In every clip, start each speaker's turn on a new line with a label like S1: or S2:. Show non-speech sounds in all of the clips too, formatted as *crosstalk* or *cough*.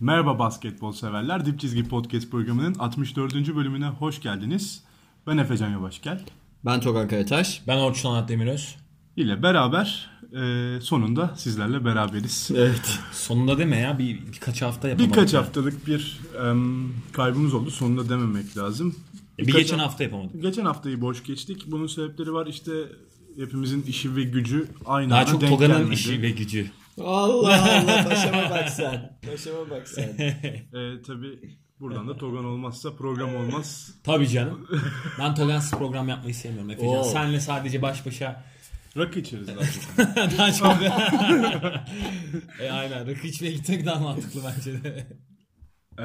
S1: Merhaba basketbol severler. Dip Çizgi Podcast programının 64. bölümüne hoş geldiniz. Ben Efecan Yavaş gel.
S2: Ben Tokar Karataş.
S3: Ben Orçun Anat Demiröz.
S1: ile beraber e, sonunda sizlerle beraberiz.
S2: Evet.
S3: Sonunda deme ya bir birkaç hafta yapamadık.
S1: Birkaç
S3: ya.
S1: haftalık bir em, kaybımız oldu. Sonunda dememek lazım.
S3: E, Bir
S1: Birkaç
S3: geçen
S1: haf-
S3: hafta yapamadık.
S1: Geçen haftayı boş geçtik. Bunun sebepleri var. İşte hepimizin işi ve gücü aynı
S3: Daha
S1: anda
S3: çok
S1: denk
S3: Toga'nın
S1: gelmedi.
S3: işi ve gücü.
S2: Allah Allah paşama bak sen. Paşama bak sen.
S1: E, tabii buradan da Togan olmazsa program olmaz.
S3: Tabii canım. Ben Togansız program yapmayı sevmiyorum Efecan.
S2: Oo.
S3: Senle sadece baş başa *laughs*
S1: Rakı içeriz daha çok.
S3: daha çok... *laughs* e aynen rakı içmeye gitmek daha mantıklı bence de.
S1: Ee,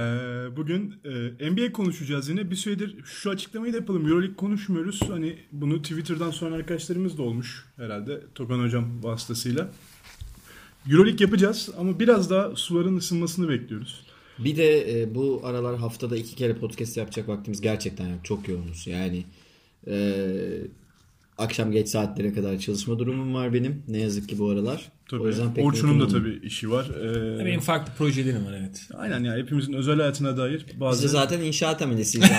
S1: bugün e, NBA konuşacağız yine. Bir süredir şu açıklamayı da yapalım. Euroleague konuşmuyoruz. Hani bunu Twitter'dan sonra arkadaşlarımız da olmuş herhalde. Tokan Hocam vasıtasıyla. Euroleague yapacağız ama biraz daha suların ısınmasını bekliyoruz.
S2: Bir de e, bu aralar haftada iki kere podcast yapacak vaktimiz gerçekten yok. Çok yoğunuz yani. e, akşam geç saatlere kadar çalışma durumum var benim. Ne yazık ki bu aralar.
S1: Tabii.
S2: O yüzden pek
S1: Orçun'un
S2: mümkün
S1: da
S2: olmuyor.
S1: tabii işi var. Ee,
S3: Benim farklı projelerim var evet.
S1: Aynen ya hepimizin özel hayatına dair
S2: Biz de
S1: bazı...
S2: zaten inşaat amelesiyiz abi.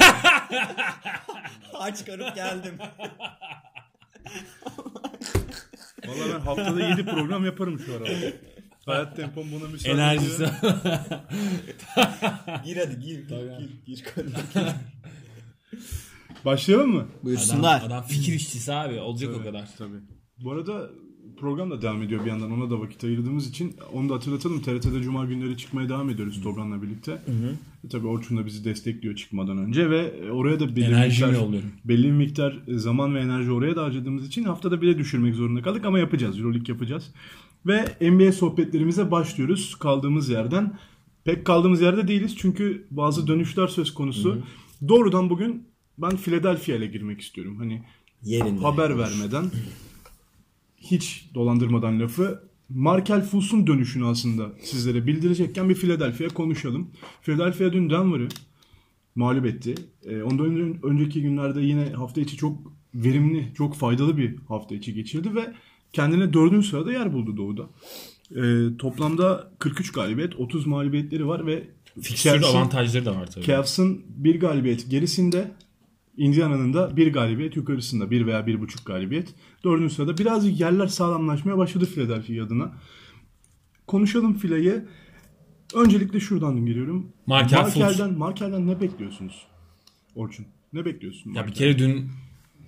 S2: *laughs* Aç karıp geldim.
S1: Vallahi ben haftada 7 program yaparım şu aralar. Hayat tempom buna müsaade
S3: Enerjisi.
S1: ediyor.
S2: Gir hadi gir. Gir, gir, konuya gir.
S1: Başlayalım mı?
S3: adam,
S2: Buyursunlar.
S3: adam fikir işçisi abi. Olacak o kadar.
S1: Tabii. Bu arada program da devam ediyor bir yandan. Ona da vakit ayırdığımız için onu da hatırlatalım. TRT'de cuma günleri çıkmaya devam ediyoruz Togran'la birlikte. E, Tabii Orçun da bizi destekliyor çıkmadan önce ve e, oraya da belli bir
S3: Enerjimi
S1: miktar,
S3: yolluyorum.
S1: belli bir miktar e, zaman ve enerji oraya da harcadığımız için haftada bile düşürmek zorunda kaldık ama yapacağız. Euroleague yapacağız. Ve NBA sohbetlerimize başlıyoruz kaldığımız yerden. Pek kaldığımız yerde değiliz çünkü bazı dönüşler söz konusu. Doğrudan bugün ben Philadelphia ile girmek istiyorum. Hani
S2: Yerinde.
S1: haber vermeden hiç dolandırmadan lafı Markel Fultz'un dönüşünü aslında sizlere bildirecekken bir Philadelphia konuşalım. Philadelphia dün Denver'ı mağlup etti. Ee, ondan ön- önceki günlerde yine hafta içi çok verimli, çok faydalı bir hafta içi geçirdi ve kendine dördüncü sırada yer buldu Doğu'da. Ee, toplamda 43 galibiyet, 30 mağlubiyetleri var ve
S3: Fikstür
S1: Cavs'ın-
S3: avantajları da var tabii.
S1: Cavs'ın bir galibiyet gerisinde Indiana'nın da bir galibiyet yukarısında. Bir veya bir buçuk galibiyet. Dördüncü sırada birazcık yerler sağlamlaşmaya başladı Philadelphia adına. Konuşalım Fila'yı. Öncelikle şuradan giriyorum.
S3: Markel Fultz.
S1: Markel'den, Markel'den ne bekliyorsunuz? Orçun. Ne bekliyorsun?
S3: Ya bir
S1: Markel'den?
S3: kere dün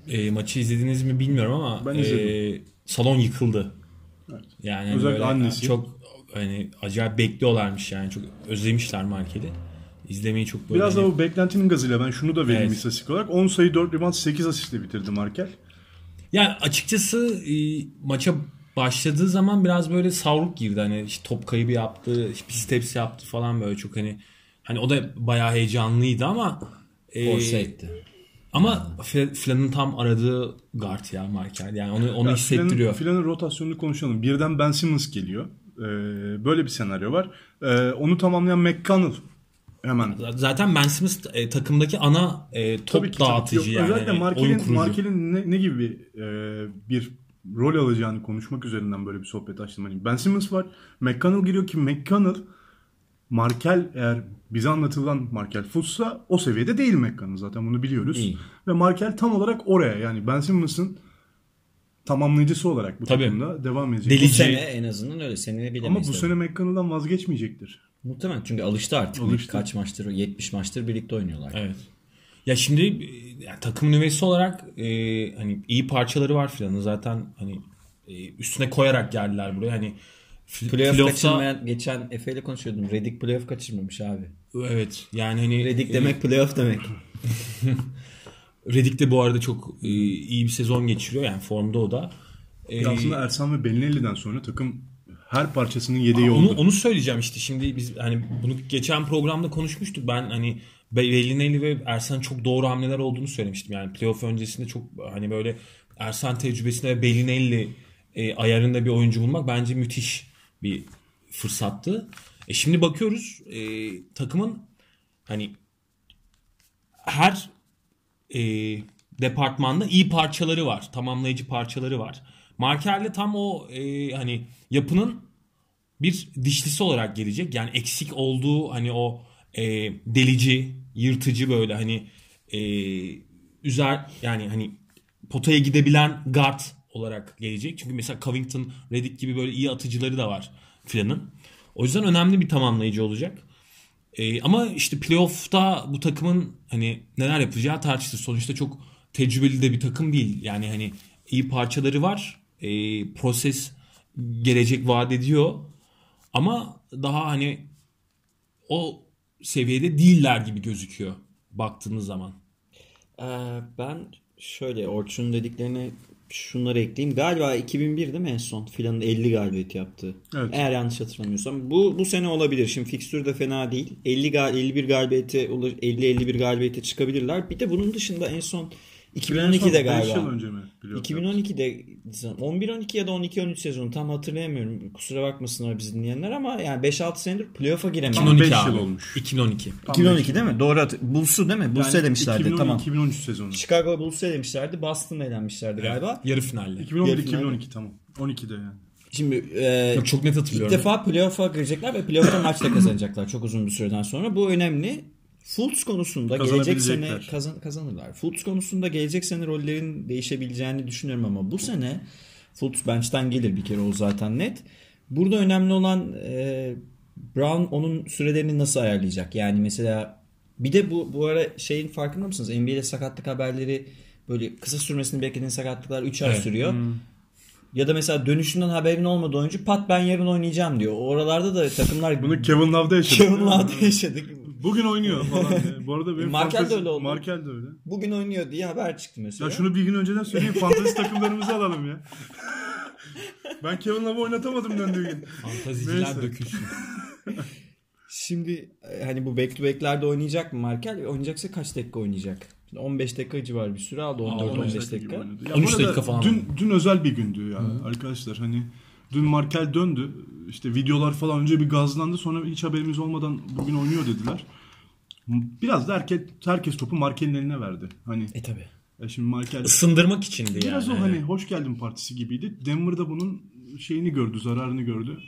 S3: e, maçı izlediniz mi bilmiyorum ama
S1: Ben
S3: e,
S1: izledim.
S3: salon yıkıldı.
S1: Evet.
S3: Yani hani
S1: Özellikle
S3: böyle
S1: annesi.
S3: çok hani acayip bekliyorlarmış yani çok özlemişler marketi. İzlemeyi çok böyle
S1: Biraz da
S3: hani-
S1: bu beklentinin gazıyla ben şunu da vereyim
S3: Evet.
S1: istatistik olarak. 10 sayı 4 rebound 8 asistle bitirdi Markel.
S3: Yani açıkçası e, maça başladığı zaman biraz böyle savruk girdi. Hani işte top kaybı yaptı, işte pist hepsi yaptı falan böyle çok hani hani o da bayağı heyecanlıydı ama e,
S2: Force etti.
S1: Ee,
S3: ama Fla- Flan'ın tam aradığı guard ya Markel. Yani onu onu
S1: Ya
S3: hissettiriyor.
S1: Filanın, filanın rotasyonunu konuşalım. Birden Ben Simmons geliyor. Ee, böyle bir senaryo var. Ee, onu tamamlayan McConnell hemen.
S3: Zaten Ben Simmons e, takımdaki ana e, top
S1: Tabii ki, tabii ki.
S3: dağıtıcı
S1: Yok,
S3: yani.
S1: Özellikle
S3: Hani oyun
S1: Markel'in,
S3: kurucu.
S1: Markel'in ne, ne gibi bir, e, bir rol alacağını konuşmak üzerinden böyle bir sohbet açtım. Hani ben Simmons var. McConnell giriyor ki McConnell Markel eğer bize anlatılan Markel Fultz'sa o seviyede değil McConnell zaten bunu biliyoruz.
S3: Değil.
S1: Ve Markel tam olarak oraya yani Ben Simmons'ın tamamlayıcısı olarak bu
S3: Tabii.
S1: takımda devam edecek.
S3: Deli
S2: Bu
S3: Lici.
S2: sene en azından öyle. Seneye bilemeyiz.
S1: Ama bu
S2: tabii.
S1: sene McConnell'dan vazgeçmeyecektir.
S2: Muhtemelen çünkü alıştı artık.
S1: Alıştı.
S2: Kaç maçtır? 70 maçtır birlikte oynuyorlar.
S3: Evet. Ya şimdi e, yani takımın üyesi olarak e, hani iyi parçaları var filanın zaten hani e, üstüne koyarak geldiler buraya hani fl-
S2: Playoff
S3: playoff'ta-
S2: kaçırmayan geçen Efe ile konuşuyordum. Redick playoff kaçırmamış abi.
S3: evet yani hani
S2: Redick
S3: e,
S2: demek
S1: *laughs*
S2: playoff demek.
S3: Redick de bu arada çok e, iyi bir sezon geçiriyor yani formda o da.
S2: Ee,
S3: E,
S1: Aslında Ersan ve Belinelli'den sonra takım her parçasının yedeği
S3: onu,
S1: oldu.
S3: onu söyleyeceğim işte şimdi biz hani bunu geçen programda konuşmuştuk ben hani Bellinelli ve Ersan çok doğru hamleler olduğunu söylemiştim yani playoff öncesinde çok hani böyle Ersan tecrübesine ve Bellinelli e, ayarında bir oyuncu bulmak bence müthiş bir fırsattı. E şimdi bakıyoruz e, takımın hani her e, departmanda iyi parçaları var. Tamamlayıcı parçaları var. Marker'le tam o e, hani yapının bir dişlisi olarak gelecek. Yani eksik olduğu hani o e, delici, yırtıcı böyle hani e, üzer yani hani potaya gidebilen guard olarak gelecek. Çünkü mesela Covington, Redick gibi böyle iyi atıcıları da var filanın. O yüzden önemli bir tamamlayıcı olacak. E, ama işte playoff'ta bu takımın hani neler yapacağı tartışılır. Sonuçta çok tecrübeli de bir takım değil. Yani hani iyi parçaları var. E, proses gelecek vaat ediyor. Ama daha hani o seviyede değiller gibi gözüküyor baktığınız zaman.
S2: Ee, ben şöyle Orçun'un dediklerine şunları ekleyeyim. Galiba 2001 değil mi en son? Filanın 50 galibiyet yaptı.
S1: Evet.
S2: Eğer yanlış hatırlamıyorsam. Bu bu sene olabilir. Şimdi fikstür de fena değil. 50 gal 51 galibiyete olur 50 51 galibiyete çıkabilirler. Bir de bunun dışında en son 2012'de
S1: Beş yıl
S2: galiba.
S1: önce mi? playoff
S2: 2012'de 11-12 ya da 12-13 sezonu tam hatırlayamıyorum. Kusura bakmasınlar bizi dinleyenler ama yani 5-6 senedir playoff'a giremedi.
S1: Tamam,
S3: 2012
S1: beş
S3: abi.
S1: yıl olmuş.
S3: 2012.
S1: Tam
S2: 2012
S1: beş-
S2: değil mi? Doğru hatır- Bulls'u değil mi? Bulls'u
S1: Yani
S2: elemişlerdi
S1: 2012
S2: tamam.
S1: 2013 sezonu.
S2: Chicago Bulls'u elemişlerdi. Boston'da elenmişlerdi galiba.
S3: Yarı finalle.
S1: 2011
S2: Yarı final.
S1: 2012 tamam. 12'de yani.
S2: Şimdi e,
S3: Yok, çok net
S2: ilk
S3: hatırlıyorum.
S2: defa playoff'a girecekler ve playoff'ta maç da kazanacaklar çok uzun bir süreden sonra. Bu önemli. Fultz konusunda gelecek sene
S1: Kazanabilecekler.
S2: kazan, kazanırlar. Fultz konusunda gelecek sene rollerin değişebileceğini düşünüyorum ama bu sene Fultz bench'ten gelir bir kere o zaten net. Burada önemli olan e, Brown onun sürelerini nasıl ayarlayacak? Yani mesela bir de bu bu ara şeyin farkında mısınız? NBA'de sakatlık haberleri böyle kısa sürmesini beklediğin sakatlıklar 3 ay
S3: Evet. Hmm.
S2: sürüyor. Ya da mesela dönüşünden haberin olmadığı oyuncu pat ben yarın oynayacağım diyor. Oralarda da takımlar *laughs*
S1: Bunu Kevin Love'da yaşadık.
S2: Kevin Love'da yaşadık. E,
S1: Bugün oynuyor falan. diye. Bu arada benim
S2: Markel de
S1: fantezi-
S2: öyle oldu. Şey?
S1: Markel de öyle.
S2: Bugün oynuyor diye haber çıktı mesela.
S1: Ya şunu bir gün önceden söyleyeyim. Fantezi takımlarımızı alalım ya. Ben Kevin Love'ı oynatamadım döndüğü gün.
S3: Fantaziciler
S1: Neyse.
S3: dökülsün.
S2: Şimdi e, hani bu back to back'lerde oynayacak mı Markel? Oynayacaksa kaç dakika oynayacak? Şimdi 15 dakika civarı bir süre aldı. 14-15 dakika.
S1: gibi oynadı. hani. Ya
S3: 13
S1: bu arada
S3: dakika falan
S1: Dün, dün özel bir gündü ya arkadaşlar. Hani dün Markel döndü. İşte videolar falan önce bir gazlandı. Sonra hiç haberimiz olmadan bugün oynuyor dediler. Biraz da herkes, herkes topu Markel'in eline verdi. Hani
S2: E tabi.
S1: ya şimdi Markel
S3: Isındırmak içindi yani.
S1: Biraz o hani hoş geldin partisi gibiydi. Denver'da bunun şeyini gördü, zararını gördü.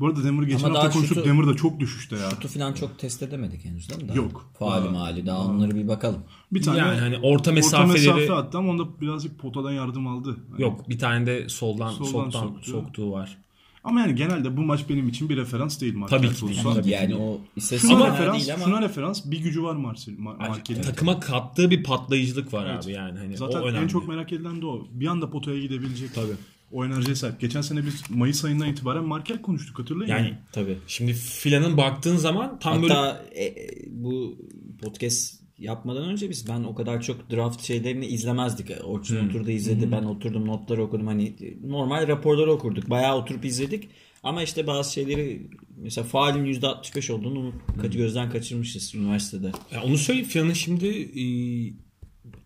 S1: Bu arada Denver geçen
S2: Ama
S1: hafta
S2: daha
S1: konuştuk.
S2: şutu-
S1: Denver'da çok düşüşte ya.
S2: Şutu falan çok test edemedik henüz değil mi? Daha?
S1: Yok.
S2: Faali
S1: Aa.
S2: mali daha onları bir bakalım.
S1: Bir tane
S3: yani hani orta
S1: orta
S3: mesafeleri
S1: mesafe attı ama onda birazcık potadan yardım aldı. Hani-
S3: yok. Bir tane de soldan,
S1: Soldan
S3: soktan
S1: soktu.
S3: soktuğu var.
S1: Ama yani genelde bu maç benim için bir referans değil Markel
S3: Tabii ki değil,
S1: Fultz'a.
S3: tabii.
S2: Yani o istatistik
S1: Şuna,
S2: fena
S1: referans,
S2: değil ama.
S1: şuna referans bir gücü var Marcel, Mar- Markel'in.
S3: Takıma kattığı bir patlayıcılık var
S1: Evet.
S3: abi yani. Hani
S1: Zaten
S3: o önemli.
S1: en çok merak edilen de o. Bir anda potaya gidebilecek.
S3: Tabii.
S1: O enerjiye sahip. Geçen sene biz Mayıs ayından itibaren Markel konuştuk hatırlayın.
S3: yani
S2: Tabii.
S3: şimdi filanın baktığın zaman tam böyle
S2: Hatta e, e, bu podcast yapmadan önce biz ben o kadar çok draft şeylerini izlemezdik. Orçun oturdu izledi. Ben oturdum notları okudum. Hani e, normal raporları okurduk. Bayağı oturup izledik. Ama işte bazı şeyleri mesela faalin %65 olduğunu unut- kaç- gözden kaçırmışız üniversitede.
S3: Ya onu söyleyeyim Filan'ın şimdi e,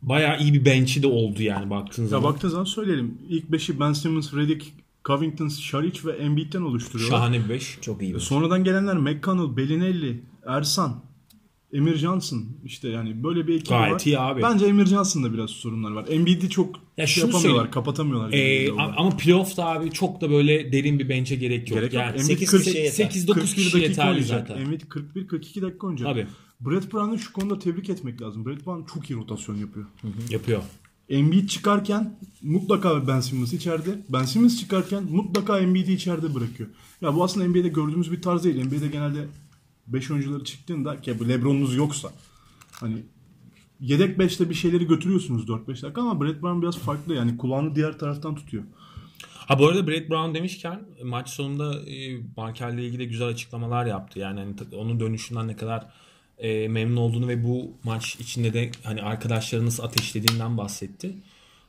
S3: bayağı iyi bir bench'i de oldu yani baktığın
S1: Ya
S3: zaman.
S1: baktığı zaman söyleyelim. İlk beşi Ben Simmons, Redick, Covington, Şaric ve Embiid'den oluşturuyorlar.
S3: Şahane bir beş. E,
S2: Çok iyi. bir-
S1: Sonradan gelenler McConnell, Belinelli, Ersan, Emir Johnson işte yani böyle bir ekip var.
S3: Gayet iyi abi.
S1: Bence Emir Johnson'da biraz sorunlar var. Embiid'i çok
S3: Ya
S1: şey
S3: şunu
S1: yapamıyorlar,
S3: söyleyeyim.
S1: kapatamıyorlar. gibi
S3: E,
S1: geliyor bana.
S3: a- ama playoff'ta abi çok da böyle derin bir bench'e gerek yok.
S1: Gerek yok.
S3: yani
S1: Embiid
S3: 8
S2: kırk-
S3: 8-9
S1: 41
S3: kişi
S1: dakika
S3: yeterli
S1: oynayacak.
S3: zaten.
S1: Embiid 41-42 dakika oynayacak.
S3: Tabii.
S1: Brett Brown'u şu konuda tebrik etmek lazım. Brett Brown çok iyi rotasyon yapıyor.
S3: Yapıyor.
S1: Embiid çıkarken mutlaka Ben Simmons içeride. Ben Simmons çıkarken mutlaka Embiid'i içeride bırakıyor. Ya bu aslında NBA'de gördüğümüz bir tarz değil. NBA'de genelde 5 oyuncuları çıktığında ki bu LeBron'unuz yoksa hani yedek 5'te bir şeyleri götürüyorsunuz 4-5 dakika ama Brett Brown biraz farklı yani kulağını diğer taraftan tutuyor.
S3: Ha bu arada Brett Brown demişken maç sonunda e, Markel'le ilgili güzel açıklamalar yaptı. Yani hani ta- onun dönüşünden ne kadar e, memnun olduğunu ve bu maç içinde de hani arkadaşları nasıl ateşlediğinden bahsetti.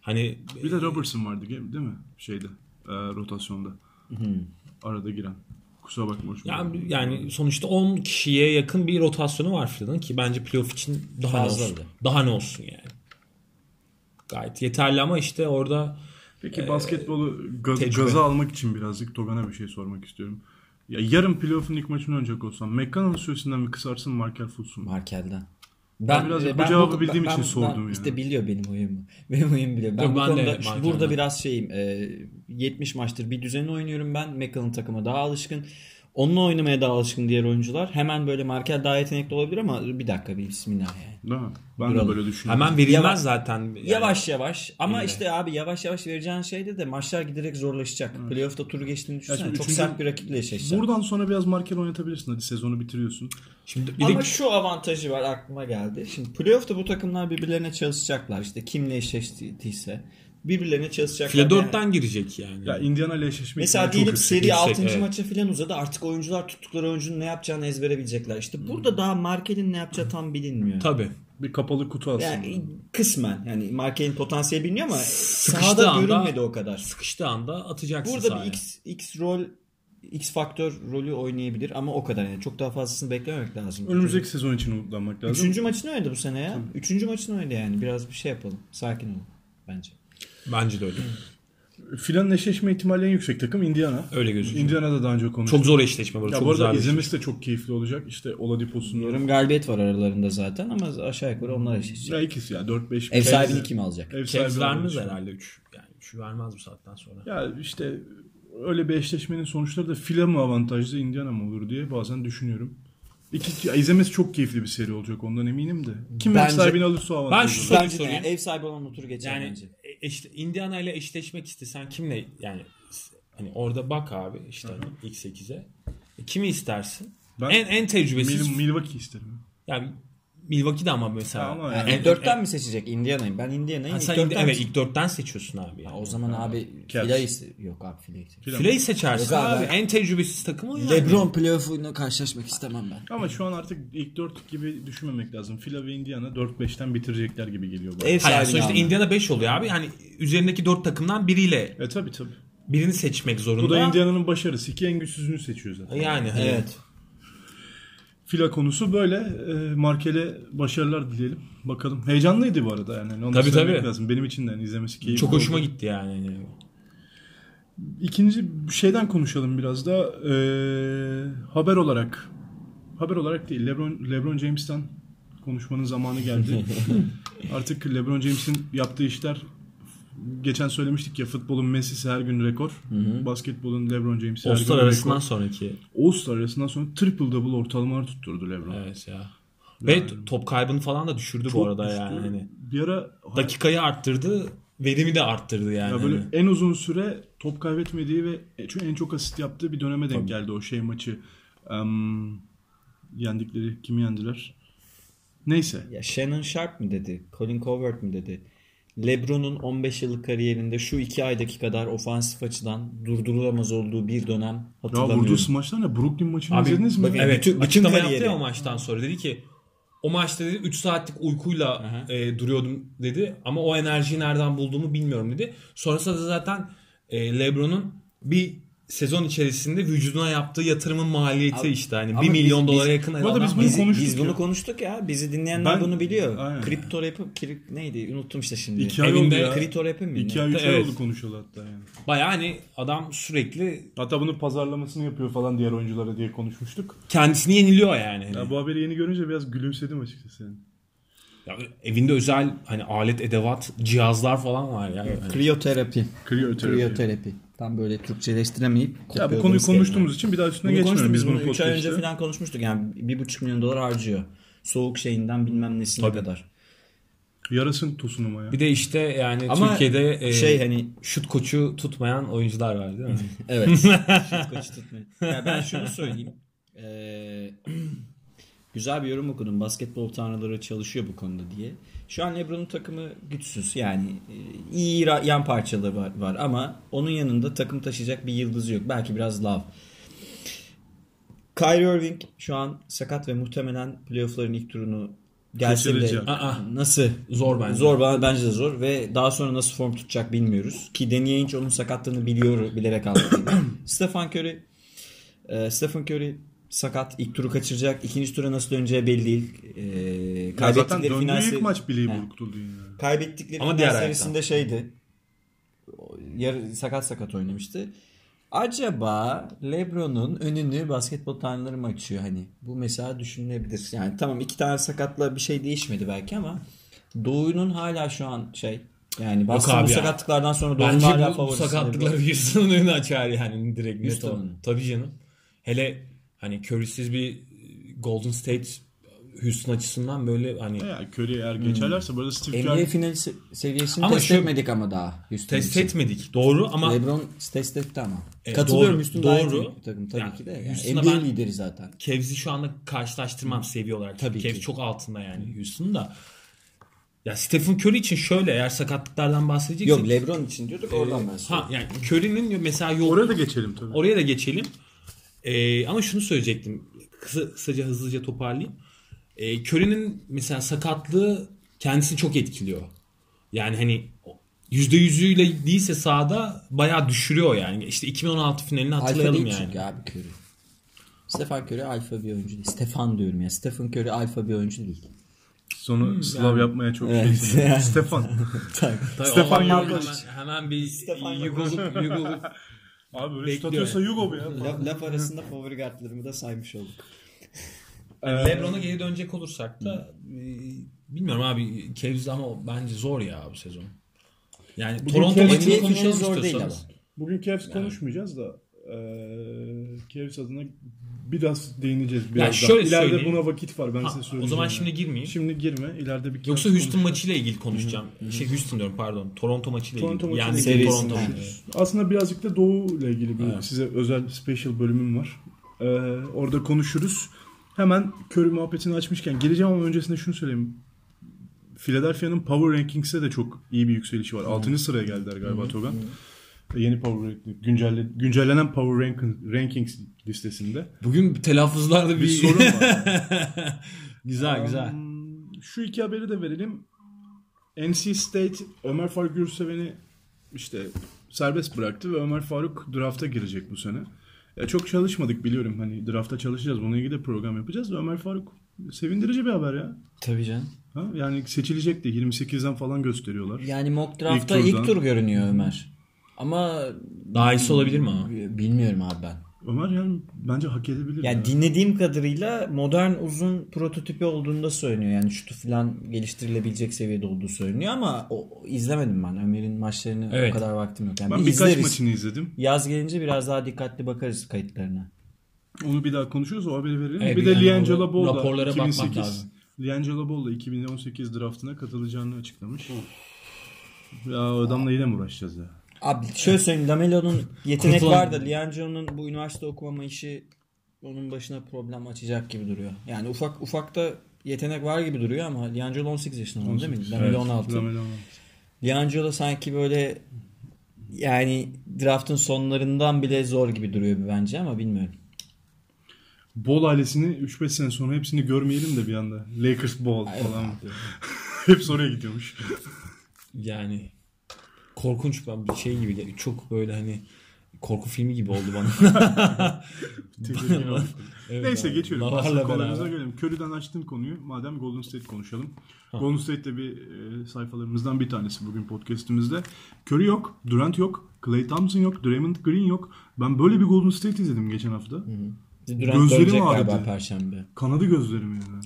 S3: Hani
S1: Bir de Robertson vardı değil mi şeyde e, rotasyonda arada giren. Kusura bakma hocam.
S3: yani, yani sonuçta 10 kişiye yakın bir rotasyonu var Phil'ın ki bence playoff için daha
S2: Fazla
S3: ne olsun.
S2: bile.
S3: Daha ne olsun yani. Gayet yeterli ama işte orada
S2: Ee,
S1: Peki basketbolu gaz,
S3: tecrübe.
S1: gaza almak için birazcık Togan'a bir şey sormak istiyorum. Ya yarın playoff'un ilk maçını oynayacak olsam McConnell süresinden mi kısarsın Markel Fultz'u mu?
S2: Markel'den.
S1: Ben biraz bu cevabı bildiğim için sordum yani.
S2: İşte biliyor benim huyumu. *laughs* Benim huyum biliyor. Ben
S3: Yok,
S2: bu
S3: ben de
S2: konuda
S3: evet,
S2: şu-
S3: Mark
S2: burada
S3: Allen.
S2: biraz şeyim. e, 70 maçtır bir düzen oynuyorum ben. McCall'ın takıma daha alışkın. Onunla oynamaya daha alışkın diğer oyuncular. Hemen böyle Markel daha yetenekli olabilir ama bir dakika bir bismillah yani.
S1: Değil mi? Ben
S2: Duralım.
S1: de böyle düşünüyorum.
S3: Hemen verilmez
S2: Yavaş-
S3: zaten. Yani
S2: Yavaş yavaş ama
S3: Yine.
S2: işte abi yavaş yavaş vereceğin şeyde de maçlar giderek zorlaşacak. Playoff'ta turu geçtiğini düşünsene.
S1: şimdi
S2: Çok
S1: üçüncü-
S2: sert bir rakiple eşleşeceksin.
S1: Buradan sonra biraz marker oynatabilirsin. Hadi sezonu bitiriyorsun.
S3: Şimdi bir
S2: Ama
S3: de
S2: şu avantajı var aklıma geldi. Şimdi playoff'ta bu takımlar birbirlerine çalışacaklar. İşte kimle eşleştiyse birbirlerine çalışacaklar.
S3: file
S2: Yani
S3: dörtten girecek yani.
S1: Ya Indiana ile eşleşme
S2: Mesela
S1: ihtimali çok
S2: diyelim
S1: yüksek.
S2: seri
S3: Yüksek,
S2: 6.
S3: evet.
S2: maça filan uzadı. Artık oyuncular tuttukları oyuncunun ne yapacağını ezbere bilecekler. İşte
S3: Hmm.
S2: burada daha Markel'in ne yapacağı tam bilinmiyor.
S3: Tabii.
S1: Bir kapalı kutu aslında.
S2: Yani kısmen yani Markel'in potansiyeli biliniyor ama
S3: Sıkıştığı
S2: sahada
S3: anda-
S2: görünmedi o kadar.
S3: Sıkıştığı anda atacaksın
S2: Burada
S3: sahaya.
S2: bir X, X rol X faktör rolü oynayabilir ama o kadar yani çok daha fazlasını beklememek lazım.
S1: Önümüzdeki sezon için umutlanmak lazım.
S2: Üçüncü maçını oynadı bu sene ya. Üçüncü maçını oynadı yani. Biraz bir şey yapalım. Sakin olun bence.
S3: Bence de öyle.
S1: Filanın eşleşme ihtimali en yüksek takım Indiana.
S3: Öyle gözüküyor.
S1: Indiana'da daha önce konuştuk.
S3: Çok zor eşleşme bu arada.
S1: ya
S3: Çok
S1: bu arada
S3: güzel bir
S1: izlemesi de çok keyifli olacak. İşte Oladipo'sunu.
S2: Yorum galibiyet var aralarında zaten ama aşağı yukarı onlar eşleşecek.
S1: Ya ikisi ya 4-5.
S2: Ev sahibini kim alacak?
S1: Ev
S3: Cavs
S1: sahibi
S3: vermez
S1: alır.
S3: herhalde 3. Yani 3'ü vermez bu saatten sonra.
S1: Ya işte öyle bir eşleşmenin sonuçları da fila mı avantajlı Indiana mı olur diye bazen düşünüyorum. İki, ya izlemesi çok keyifli bir seri olacak ondan eminim de. Kim ev
S2: Bence-
S1: sahibini alırsa o avantajlı.
S3: Ben şu
S1: olur.
S3: soruyu
S2: Bence de
S3: sorayım.
S2: yani ev sahibi olan otur geçer
S3: Yani
S2: bence.
S3: e, işte Indiana ile eşleşmek istesen kimle yani hani orada bak abi işte hani ilk 8'e. E, Kimi istersin?
S1: Ben-
S3: en en tecrübesiz.
S1: Mil- Milwaukee isterim.
S3: yani Milwaukee'de ama mesela.
S1: Ama
S2: Yani
S1: yani-
S3: en-
S2: dörtten
S3: en-
S2: mi seçecek? Indiana'yı. Ben Indiana'yı
S3: Ha,
S2: ilk
S3: sen
S2: dörtten
S3: Indi- evet ilk dörtten seçiyorsun abi. Yani.
S2: O zaman abi
S1: Cavs.
S2: filayı... se- Yok abi filayı. se-
S1: Filan-
S3: Fileyi seçersin
S2: Yok abi.
S3: abi. En tecrübesiz takım o yani.
S2: Lebron playoff'uyla karşılaşmak istemem ben.
S1: Ama şu an artık ilk 4 gibi düşünmemek lazım. Fila ve Indiana 4-5'ten bitirecekler gibi geliyor bana.
S2: Ev
S3: Hayır
S2: sahibi
S3: sonuçta Indiana 5 oluyor abi. Hani üzerindeki 4 takımdan biriyle
S1: E tabi tabi.
S3: birini seçmek zorunda.
S1: Bu da Indiana'nın başarısı. İki en güçsüzünü seçiyor zaten.
S3: Yani hani
S2: Evet.
S1: Fila konusu böyle. E, Markel'e başarılar dileyelim. Bakalım. Heyecanlıydı bu arada yani. Hani Onu
S3: Tabii,
S1: söylemek
S3: tabii.
S1: lazım. Benim için de hani izlemesi keyifli.
S3: çok
S1: oldu.
S3: hoşuma gitti yani. Hani
S1: İkinci şeyden konuşalım biraz da. E, haber olarak. Haber olarak değil. Lebron, Lebron James'ten konuşmanın zamanı
S3: *laughs*
S1: geldi. Artık Lebron James'in yaptığı işler geçen söylemiştik ya futbolun Messi'si her gün rekor. Basketbolun Lebron James'i her gün
S3: All-Star
S1: rekor.
S3: arasından sonraki.
S1: All-Star arasından sonra triple double ortalamaları tutturdu Lebron.
S3: Evet ya. Ve t- top kaybını falan da düşürdü bu
S1: Çok
S3: arada
S1: düştü.
S3: yani. Hani
S1: Bir ara
S3: dakikayı arttırdı, verimi de arttırdı yani.
S1: ya böyle
S3: Hani
S1: en uzun süre top kaybetmediği ve e, çünkü en çok asist yaptığı bir döneme denk geldi o şey maçı. Em, yendikleri kimi yendiler? Neyse.
S2: Ya Shannon Sharp mı dedi? Colin Covert mi dedi? LeBron'un 15 yıllık kariyerinde şu iki aydaki kadar ofansif açıdan durdurulamaz olduğu bir dönem
S1: Ya
S2: hatırlamıyorum.
S1: vurduğu smaçlar ne? Brooklyn maçını
S3: Abi,
S1: izlediniz mi?
S2: bakın-
S3: evet,
S2: bütün- bütün
S3: açıklama
S2: kariyeri.
S3: yaptı ya o maçtan sonra. Dedi ki o maçta dedi 3 saatlik uykuyla e, duruyordum dedi ama o enerjiyi nereden bulduğumu bilmiyorum dedi. Sonrasında da zaten e, LeBron'un bir sezon içerisinde vücuduna yaptığı yatırımın maliyeti
S2: Abi,
S3: işte hani
S2: ama
S3: 1
S2: biz-
S3: milyon dolara
S2: biz-
S3: yakın
S1: Bu arada biz
S3: adam-
S1: bunu
S2: Bizi-
S1: konuştuk
S2: biz
S1: ya.
S2: bunu konuştuk ya. Bizi dinleyenler
S1: Ben-
S2: bunu biliyor.
S1: Aynen.
S2: Kripto rap'i kri- neydi? Unuttum işte şimdi.
S1: İki ay oldu
S3: Evinde
S1: ya.
S2: Kripto rap'i mi?
S1: İki
S2: Ne?
S1: ay üç ay
S3: Evet.
S1: oldu konuşalı hatta yani.
S3: Bayağı hani adam sürekli
S1: Hatta bunu pazarlamasını yapıyor falan diğer oyunculara diye konuşmuştuk.
S3: kendisini yeniliyor yani. Hani
S1: Ya bu haberi yeni görünce biraz gülümsedim açıkçası yani.
S3: Ya evinde özel hani alet edevat cihazlar falan var ya. Hani
S2: Kriyoterapi.
S1: Kriyoterapi.
S2: Kriyoterapi. Tam böyle Türkçeleştiremeyip
S1: Ya bu konuyu
S2: kopyaladığımız kelime.
S1: konuştuğumuz için bir daha üstüne
S2: Bunu
S1: geçmiyorum
S2: konuştuk
S1: biz bunu
S2: üç ay önce
S1: podcast'te.
S2: falan konuşmuştuk. Yani 1,5 milyon dolar harcıyor. Soğuk şeyinden bilmem nesine kadar.
S1: Yarasın tosunu mu ya?
S3: Bir de işte yani
S2: Ama
S3: Türkiye'de e,
S2: şey hani-
S3: şut koçu tutmayan oyuncular var değil mi? *laughs*
S2: Evet. Şut koçu tutmayın. Ya ben şunu söyleyeyim. Ee, *clears throat* güzel bir yorum okudum. Basketbol tanrıları çalışıyor bu konuda diye. Şu an LeBron'un takımı güçsüz. Yani e, iyi ra- yan parçaları var, var ama onun yanında takım taşıyacak bir yıldızı yok. Belki biraz Love. Kyrie Irving şu an sakat ve muhtemelen playoff'ların ilk turunu gelse bile
S1: Kaçıracak.
S3: Aa,
S2: nasıl
S3: Zor bence.
S2: Zor ba- bence de zor ve daha sonra nasıl form tutacak bilmiyoruz. Ki Danny Ainge onun sakatlığını biliyor bilerek aldı.
S3: *clears throat*
S2: Stephen Curry e, Stephen Curry sakat. ilk turu kaçıracak. İkinci tura nasıl döneceği belli değil. E,
S1: Ya zaten
S2: kaybettikleri
S1: döndüğü
S2: final
S1: ilk
S2: se-
S1: maç bileği
S2: He.
S1: burkutuldu yine.
S2: Kaybettikleri
S3: Ama
S2: final
S3: diğer
S2: serisinde şeydi. Yarı, sakat sakat oynamıştı. Acaba LeBron'un önünü basketbol tanrıları mı açıyor hani? Bu mesela düşünülebilir. Yani tamam iki tane sakatla bir şey değişmedi belki ama Doğu'nun hala şu an şey yani Boston
S3: abi
S2: bu
S3: ya.
S2: sakatlıklardan sonra Doğu'nun
S3: Bence
S2: hala
S3: bu, bu
S2: favorisi
S3: sakatlıklar
S2: LeBron.
S3: Houston'ın önünü açar yani direkt net
S2: Houston'ın.
S3: olarak. Tabii canım. Hele hani Curry'siz bir Golden State Houston açısından böyle hani
S1: Ya Curry eğer geçerlerse burada Steve
S3: *laughs*
S2: NBA
S1: Kerr
S2: final se- seviyesini
S3: Ama
S2: test
S3: şu-
S2: etmedik ama daha. Houston
S3: test
S2: için.
S3: etmedik. Doğru ama
S2: LeBron test etti ama.
S3: E,
S2: Katılıyorum
S3: doğru,
S2: Houston daha iyi
S3: doğru.
S2: bir takım tabii
S3: Yani
S2: ki de. Yani
S3: Houston'a
S2: NBA
S3: ben-
S2: lideri zaten.
S3: Kevzi şu anda karşılaştırmam seviye olarak.
S2: Tabii
S3: Tabii
S2: ki.
S3: çok altında yani Houston da. Ya Stephen Curry için şöyle eğer sakatlıklardan bahsedeceksek.
S2: Yok LeBron için diyorduk oradan ben
S3: Ee, Ha yani Curry'nin mesela yolu
S1: Oraya da geçelim tabii.
S3: Oraya da geçelim. Ee, ama şunu söyleyecektim. Kısa, kısaca hızlıca toparlayayım. Ee, Curry'nin mesela sakatlığı kendisini çok etkiliyor. Yani hani %100'üyle değilse sahada bayağı düşürüyor yani. İşte 2016 finalini
S2: Alfa
S3: hatırlayalım
S2: değil
S3: yani.
S2: çünkü abi Curry. Stefan Curry alfa bir oyuncu değil. Stefan diyorum ya. Stephen Curry alfa bir oyuncu
S3: *laughs*
S2: değil.
S1: Sonu
S3: Hmm,
S1: Slav yapmaya çok
S2: Evet,
S1: şeysin.
S2: yani.
S1: Stefan.
S3: Tabii
S1: Stefan
S3: Allah'ın yolunu
S1: Markovic.
S3: Hemen, hemen bir Yugoluk, Yugoluk
S1: Abi böyle
S3: Bekliyor
S1: statüyorsa Yugo bu ya.
S2: laf, laf arasında favori kartlarımı da saymış olduk.
S1: Ee,
S3: Lebron'a geri dönecek olursak da e, bilmiyorum abi Cavs ama bence zor ya bu sezon. Yani Toronto
S1: Cavs-
S3: maçını
S2: NBA finali
S3: konuşalım
S2: zor değil ama.
S3: istiyorsanız.
S1: Bugün Cavs konuşmayacağız da eee Cavs adına biraz değineceğiz biraz daha.
S3: şöyle
S1: İleride
S3: söyleyeyim.
S1: buna vakit var ben
S3: Ha,
S1: size söyleyeyim.
S3: o zaman şimdi girmeyeyim.
S1: Şimdi girme ileride bir
S3: Yoksa
S1: Cavs
S3: Houston
S1: konuşuruz.
S3: maçıyla ilgili konuşacağım. Şey Houston diyorum pardon. Toronto maçıyla
S1: Toronto
S3: ilgili.
S1: maçıyla
S3: Yani
S1: ilgili
S3: Toronto.
S2: konuşuruz.
S1: Aslında birazcık da Doğu ile ilgili bir size özel special bölümüm var. Ee, orada konuşuruz. Hemen Curry muhabbetini açmışken geleceğim ama öncesinde şunu söyleyeyim. Philadelphia'nın Power Rankings'e de çok iyi bir yükselişi var. 6. sıraya geldiler galiba Togan. Ee, Yeni Power Ranking- güncelle, güncellenen Power Rank- Rankings listesinde.
S3: Bugün telaffuzlarda
S1: Bir sorun *laughs* var.
S3: güzel güzel.
S1: Hmm, Şu iki haberi de verelim. NC State Ömer Faruk Gürseven'i işte serbest bıraktı ve Ömer Faruk drafta girecek bu sene. Ya çok çalışmadık biliyorum hani drafta çalışacağız. Bununla ilgili de program yapacağız ve Ömer Faruk sevindirici bir haber ya.
S2: Tabii canım.
S1: Ha? Yani seçilecek de 28'den falan gösteriyorlar.
S2: Yani mock draftta
S1: İlk
S2: ilk,
S1: turdan.
S2: tur görünüyor Ömer. Ama
S3: Daha iyisi olabilir mi ama?
S2: bilmiyorum abi ben.
S1: Ömer yani bence hak edebilir.
S2: Yani
S1: ya.
S2: dinlediğim kadarıyla modern uzun prototipi olduğunda söyleniyor. Yani şutu falan geliştirilebilecek seviyede olduğu söyleniyor ama o, o- izlemedim ben. Ömer'in maçlarını
S3: Evet.
S2: o kadar vaktim yok. Yani
S1: ben
S2: bir
S1: birkaç
S2: izleriz.
S1: maçını izledim.
S2: Yaz gelince biraz daha dikkatli bakarız kayıtlarına.
S1: Onu bir daha konuşuruz. O haberi verelim.
S3: Evet,
S1: bir de
S3: yani
S1: Liangelo
S3: o
S1: Ball da
S3: raporlara bakmak
S1: 2008
S3: lazım.
S1: Liangelo Ball da 2018 draftına katılacağını açıklamış. Ya adamla yine mi uğraşacağız ya?
S2: Abi şöyle söyleyeyim Lamelo'nun yetenek
S3: Kurtulan-
S2: var da Liangelo'nun bu üniversite okumama işi onun başına problem açacak gibi duruyor. Yani ufak ufakta yetenek var gibi duruyor ama Liangelo 18 yaşında oldu değil mi? Lamelo
S1: Evet,
S2: 16.
S1: Lamelo 16.
S2: Liangelo sanki böyle yani draftın sonlarından bile zor gibi duruyor bir bence ama bilmiyorum.
S1: Ball ailesini 3-5 sene sonra hepsini görmeyelim de bir anda. Lakers Ball
S2: Ay,
S1: falan.
S2: abi.
S1: *laughs* Hep oraya
S3: *laughs*
S1: gidiyormuş.
S3: Yani korkunç ben bir şey gibi gel- çok böyle hani korku filmi gibi oldu bana. Evet
S1: Neyse
S3: abi,
S1: geçiyorum.
S3: Lavar'la
S1: Aslında konumuza
S3: beraber.
S1: gelelim. Curry'den açtığım konuyu madem Golden State konuşalım. Golden State de bir e, sayfalarımızdan bir tanesi bugün podcast'imizde. Curry yok, Durant yok, Klay Thompson yok, Draymond Green yok. Ben böyle bir Golden State izledim geçen hafta.
S2: Durant
S1: Gözlerim
S2: dönecek galiba
S1: ağrıdı.
S2: perşembe.
S1: Kanadı gözlerim yani.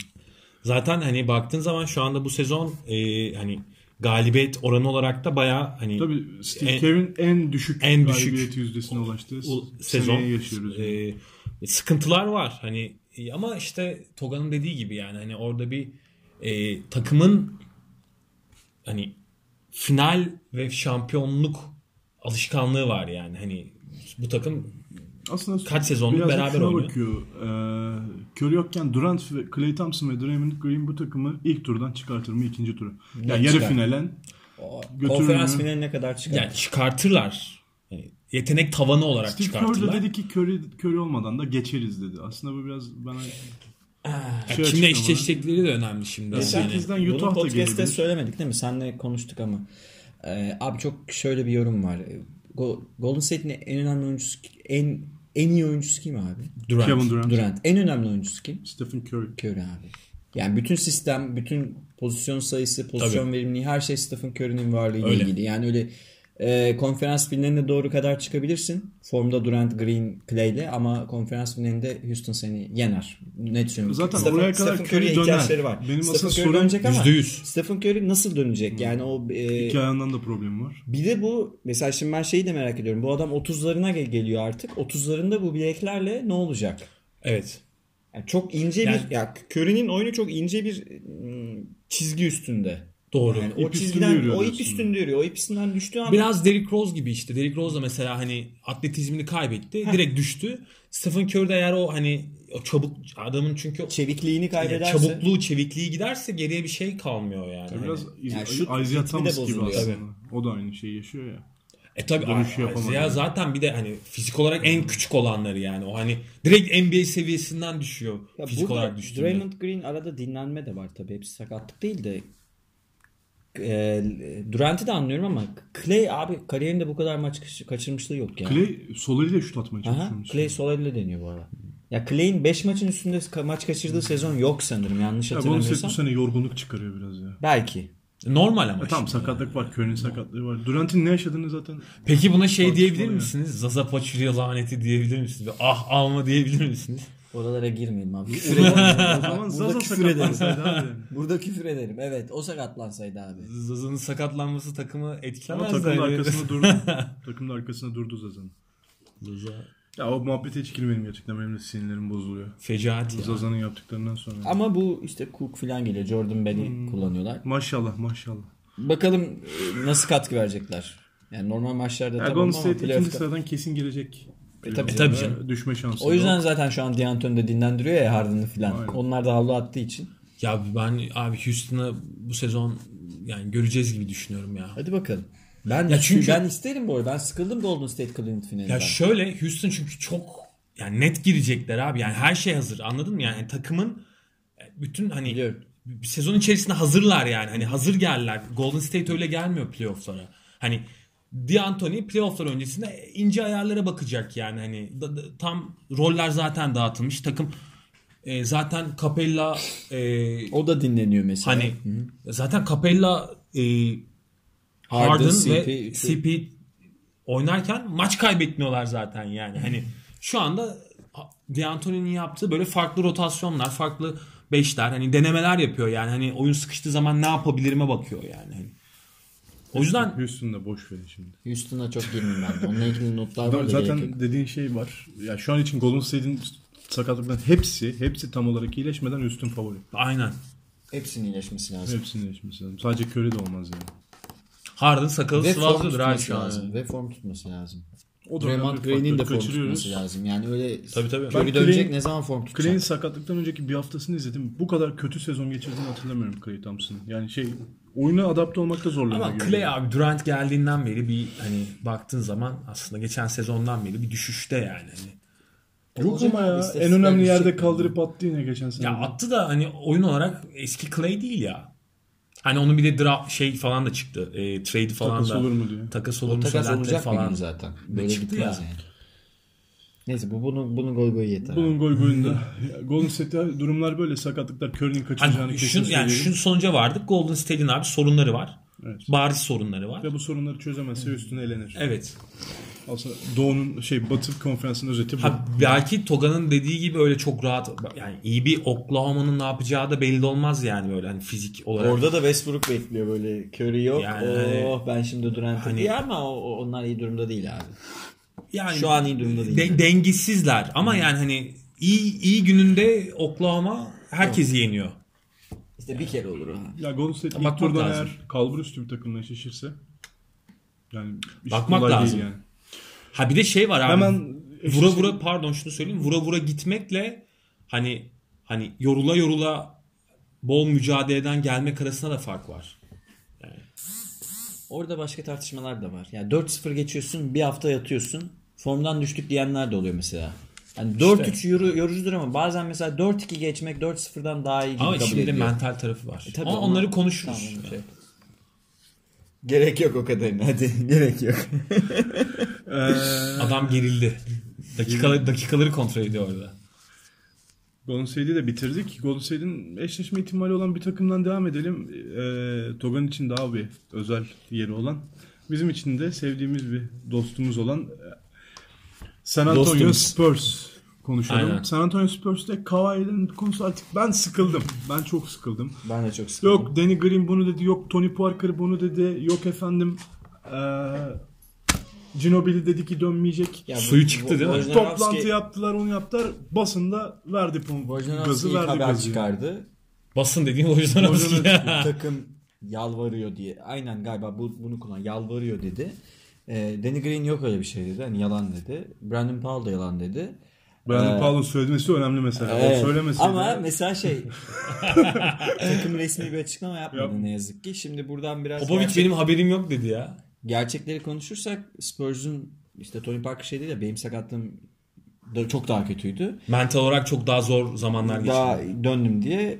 S3: Zaten hani baktığın zaman şu anda bu sezon e, hani galibiyet oranı olarak da bayağı hani
S1: Tabii Steve
S3: En-
S1: Kerr'in en düşük
S3: en düşük
S1: galibiyet yüzdesine ulaştığı
S3: bu
S1: sezon
S3: sezon
S1: yaşıyoruz.
S3: e, sıkıntılar var hani e, ama işte Toga'nın dediği gibi yani hani orada bir e, takımın hani final ve şampiyonluk alışkanlığı var yani hani bu takım
S1: Aslında
S3: kaç sezondur
S1: birazcık
S3: beraber
S1: şuna
S3: oynuyor.
S1: bakıyor. Ee, Curry yokken Durant ve Klay Thompson ve Draymond Green bu takımı ilk turdan çıkartır mı ikinci tura? Yani yarı
S2: çıkar?
S1: finalen
S2: O-
S1: Götürür
S2: Konferans
S1: mü?
S2: finaline kadar çıkar.
S3: yani çıkartırlar. Yani yetenek tavanı olarak
S1: Steve Kerr
S3: çıkartırlar.
S1: de dedi ki Curry, Curry olmadan da geçeriz dedi. Aslında bu biraz bana
S3: Ya
S1: şey
S3: kimle
S1: açıklamalı.
S3: eşleşecekleri de önemli şimdi. Yani.
S1: 8'den
S2: Bunu
S1: Utah da
S2: podcast'te
S1: gelebilir.
S2: söylemedik değil mi? Senle konuştuk ama. Ee, abi çok şöyle bir yorum var. Ee, Go- Golden State'in en önemli oyuncusu en en iyi oyuncusu kim abi?
S3: Durant.
S1: Kevin Durant,
S2: Durant. En önemli oyuncusu kim?
S1: Stephen Curry.
S2: Curry abi. Yani bütün sistem, bütün pozisyon sayısı, pozisyon
S3: Tabii.
S2: verimliği her şey Stephen Curry'nin varlığıyla
S3: Öyle.
S2: ilgili. Yani öyle E, konferans finaline doğru kadar çıkabilirsin. Formda Durant, Green, Clay ile ama konferans finalinde Houston seni yener. Net söylüyorum.
S1: Zaten
S2: Stephen-
S1: oraya kadar
S2: Stephen Curry'ye
S1: Curry döner.
S2: ihtiyaçları var.
S1: Benim
S2: Stephen
S1: asıl
S2: Curry
S1: sorum Hmm.
S2: dönecek ama
S3: %100.
S2: Stephen Curry nasıl dönecek? Yani o e,
S1: Hikayandan da problem var.
S2: bir de bu mesela şimdi ben şeyi de merak ediyorum. Bu adam 30'larına gel- geliyor artık. 30'larında bu bileklerle ne olacak?
S3: Evet.
S2: Yani çok ince
S3: Yani-
S2: bir ya Curry'nin oyunu çok ince bir ım, çizgi üstünde.
S3: Doğru.
S2: Yani
S1: İp
S2: o
S1: üstünde
S2: çizgiden
S1: yürüyor
S2: o ip
S1: diyorsun.
S2: üstünde yürüyor. O ip üstünden düştüğü anda
S3: Biraz Derrick Rose gibi işte. Derrick Rose da mesela hani atletizmini kaybetti. Direkt düştü. Stephen Curry de eğer o hani o çabuk adamın çünkü o-
S2: çevikliğini kaybederse
S3: çabukluğu, çevikliği giderse geriye bir şey kalmıyor yani.
S1: Biraz
S3: Hani-
S1: iz-
S2: yani şut
S1: Isaiah
S2: ritmi de
S1: Thomas gibi
S2: bozuluyor.
S1: aslında. O da aynı şeyi yaşıyor ya.
S3: E tabi
S1: Dönüşü yapamadı.
S3: Isaiah zaten bir de hani fizik olarak en küçük olanları yani. O hani direkt NBA seviyesinden düşüyor.
S2: Ya
S3: fizik
S2: burada
S3: olarak düştüğünde.
S2: Draymond Green arada dinlenme de var tabii. Hepsi sakatlık değil de e, Durant'i de anlıyorum ama Clay abi kariyerinde bu kadar maç kaç- kaçırmışlığı yok yani.
S1: Clay soluyla şut atmaya
S2: Aha,
S1: çalışıyormuş.
S2: Clay sol elle deniyor bu arada. Ya Clay'in 5 maçın üstünde ka- maç kaçırdığı sezon yok sanırım yanlış
S1: Ya bonus set bu
S2: hatırlamıyorsam.
S1: sene yorgunluk çıkarıyor biraz ya.
S2: Belki.
S3: Normal ama.
S1: E tamam
S3: işte.
S2: şey
S1: sakatlık var. Curry'nin sakatlığı var. Durant'in ne yaşadığını
S2: *laughs*
S1: zaten
S3: Peki buna şey diyebilir
S1: ya.
S3: misiniz? Zaza Pachulia laneti diyebilir misiniz? Bir Ah alma diyebilir misiniz?
S2: Oralara
S1: *laughs*
S2: girmeyelim abi.
S1: O
S2: Küfür ederim.
S1: zaman- o zaman Zaza
S2: küfür ederim.
S1: sakatlansaydı abi.
S2: *laughs* Burada küfür ederim. Evet o sakatlansaydı abi.
S3: Zaza'nın sakatlanması takımı
S1: Ama
S3: etkilemez de
S1: takımın
S3: hani-
S1: arkasında
S2: *laughs*
S1: durdu. takımın arkasında durdu Zaza'nın.
S3: Zaza
S1: Ya o muhabbete hiç girmeyelim gerçekten. Benim de sinirlerim bozuluyor.
S3: fecaat ya.
S1: Zaza'nın yaptıklarından sonra.
S2: *laughs* Ama bu işte Cook falan geliyor. Jordan Bell'i
S1: Hmm.
S2: kullanıyorlar.
S1: Maşallah maşallah.
S2: Bakalım e, nasıl katkı verecekler. Yani normal maçlarda
S1: Ya
S2: tamam
S1: Golden
S2: ama
S1: State ikinci
S2: playoff'ta.
S1: sıradan kesin girecek. Ee,
S2: E tabii.
S3: E tabii canım.
S1: Düşme şansı.
S2: O yüzden
S1: yok.
S2: zaten şu an D'Antoni'de dinlendiriyor ya Harden'ı falan.
S1: Aynen.
S2: Onlar da havlu attığı için.
S3: Ya ben abi Houston'a bu sezon yani göreceğiz gibi düşünüyorum ya.
S2: Hadi bakalım. Ben
S3: Ya çünkü-
S2: ben isterim bu arada. Ben sıkıldım Golden State Cleveland finalinden.
S3: Ya şöyle Houston çünkü çok yani net girecekler abi. Yani her şey hazır. Anladın mı? Yani takımın bütün hani
S2: Biliyorum.
S3: bir sezon içerisinde hazırlar yani. Hani hazır geldiler. Golden State öyle gelmiyor playofflara. Hani D'Antoni playofflar öncesinde ince ayarlara bakacak yani. Hani da- da- tam roller zaten dağıtılmış. Takım e, zaten Capella e,
S2: O da dinleniyor mesela.
S3: hani zaten Capella e,
S2: Harden,
S3: Harden
S2: CP,
S3: ve
S2: şu-
S3: CP oynarken maç kaybetmiyorlar zaten yani. Hani şu anda D'Antoni'nin yaptığı böyle farklı rotasyonlar, farklı beşler hani denemeler yapıyor yani. Hani oyun sıkıştığı zaman ne yapabilirime bakıyor yani. Hani O yüzden
S1: Houston'da boş verin şimdi.
S2: Houston'a çok girmeyeyim ben. de. Onunla ilgili notlar var da gerek yok.
S1: Zaten dediğin şey var. Ya şu an için Golden State'in sakatlıkların hepsi, hepsi tam olarak iyileşmeden üstün favori.
S3: aynen.
S2: Hepsinin iyileşmesi lazım.
S1: Hepsinin iyileşmesi lazım. Sadece Curry de olmaz yani.
S3: Harden sakalı
S2: Ve form
S3: sıvazlıyordur abi
S2: tutması
S3: şu an.
S2: lazım. Ve form tutması lazım.
S1: O
S2: Draymond
S1: önemli bir
S2: Green'in de
S1: faktör.
S2: form
S1: Kaçırıyoruz.
S2: tutması lazım. Yani öyle
S3: Tabii, tabii.
S2: Curry
S1: Ben
S2: dönecek
S1: Clay'in-
S2: ne zaman form tutacak?
S1: Clay'in sakatlıktan önceki bir haftasını izledim. Bu kadar kötü sezon geçirdiğini hatırlamıyorum Clay Thompson'ın. Yani şey oyuna adapte olmakta zorlanıyor.
S3: Ama
S1: gibi.
S3: Clay abi Durant geldiğinden beri bir hani baktığın zaman aslında geçen sezondan beri bir düşüşte yani. Hani
S1: Yok
S2: Olacak
S1: ama
S2: abi,
S1: ya en
S2: istatistikler
S1: önemli
S2: düşecek
S1: yerde
S2: yani.
S1: kaldırıp attı yine geçen sene.
S3: Ya attı da hani oyun olarak eski Clay değil ya. Hani onun bir de draft şey falan da çıktı. E, trade falan
S1: Takas
S3: da.
S1: olur mu diyor.
S3: Takas olur
S2: O
S3: mu
S2: takas
S3: söylentileri
S2: olacak bir
S3: falan.
S2: gün zaten. Böyle
S3: çıktı
S2: gitmez
S3: ya.
S2: yani. Neyse bu bunu bunu gol gol yeter. abi.
S1: Bunun gol golünde. Ya, Golden State'te durumlar böyle sakatlıklar Curry'nin kaçıracağını
S3: Hani
S1: kesin
S3: şun, yani
S1: söyleyelim.
S3: şu sonuca vardık. Golden State'in abi sorunları var.
S1: Evet.
S3: Bariz sorunları var.
S1: Ve bu sorunları çözemezse üstüne elenir.
S3: Evet.
S1: Aslında Doğu'nun şey Batı konferansının özeti bu.
S3: Ha, belki Toga'nın dediği gibi öyle çok rahat yani iyi bir Oklahoma'nın ne yapacağı da belli olmaz yani böyle hani fizik olarak.
S2: Orada da Westbrook bekliyor böyle. Curry yok.
S3: Yani-
S2: oh ben şimdi Durant'ı
S3: Hani-
S2: diye ama o- o- onlar iyi durumda değil abi.
S1: Hani
S3: yani
S2: Şu an iyi durumda değil.
S3: de- dengesizler ama yani hani iyi iyi gününde Oklahoma herkesi yeniyor.
S2: İşte bir kere olur o.
S1: Ya Golden State ilk
S3: Bakmak
S1: turdan
S3: lazım.
S1: eğer kalbur üstü bir takımla eşleşirse yani iş
S3: Bakmak
S1: kolay değil
S3: lazım.
S1: yani.
S3: Ha bir de şey var abi.
S1: Hemen
S3: vura vura pardon şunu söyleyeyim. Vura vura gitmekle hani hani yorula yorula bol mücadeleden gelmek arasında da fark var.
S2: Orada başka tartışmalar da var. Yani 4-0 geçiyorsun, bir hafta yatıyorsun. Formdan düştük diyenler de oluyor mesela. Yani 4-3 yoru- yorucudur ama bazen mesela 4-2 geçmek 4-0'dan daha iyi gibi
S3: Ama
S2: kabul
S3: şimdi
S2: ediliyor.
S3: mental tarafı var.
S2: tabii
S3: ama
S2: ama-
S3: onları konuşuruz.
S2: Tamam, şey. Gerek yok o kadarına. Hadi *laughs* gerek yok.
S3: Adam gerildi. Dakikaları, dakikaları kontrol ediyor orada.
S1: Golden State'i de bitirdik. Golden State'in eşleşme ihtimali olan bir takımdan devam edelim. Ee, Togan için daha bir özel yeri olan Bizim için de sevdiğimiz bir dostumuz olan e, San Antonio
S2: Dostumuz.
S1: Spurs konuşalım.
S3: Aynen.
S1: San Antonio Spurs'te Kawhi'nin konusu artık ben sıkıldım. Ben çok sıkıldım.
S2: Ben de çok sıkıldım.
S1: Yok Danny Green bunu dedi, yok Tony Parker bunu dedi, yok efendim eee Ginobili dedi ki dönmeyecek.
S2: Ya bu-
S3: Suyu çıktı değil mi?
S2: Wojnarowski-
S1: Toplantı yaptılar onu yaptılar. Basında verdi pom-
S2: Wojnarowski
S1: gazı
S2: ilk
S1: verdi
S2: haber
S1: gazı.
S3: *laughs*
S2: çıkardı.
S3: Basın dediğin Wojnarowski ya.
S2: takım yalvarıyor diye. Aynen galiba bu, bunu kullan. Yalvarıyor dedi. E, Danny Green yok öyle bir şey dedi. Hani yalan dedi. Brandon Powell da yalan dedi.
S1: Brandon Powell'ın söylemesi önemli mesela.
S2: Evet.
S1: O söylemeseydi.
S2: Ama mesela şey *laughs* takım resmi bir açıklama yapmadı
S1: Yap-
S2: ne yazık ki. Şimdi buradan biraz
S3: Popovic
S2: gerçek-
S3: benim haberim yok dedi ya.
S2: gerçekleri konuşursak Spurs'un işte Tony Parker şey değil de benim sakatlığım da çok daha kötüydü.
S3: Mental olarak çok daha zor zamanlar geçirdi.
S2: Daha döndüm diye.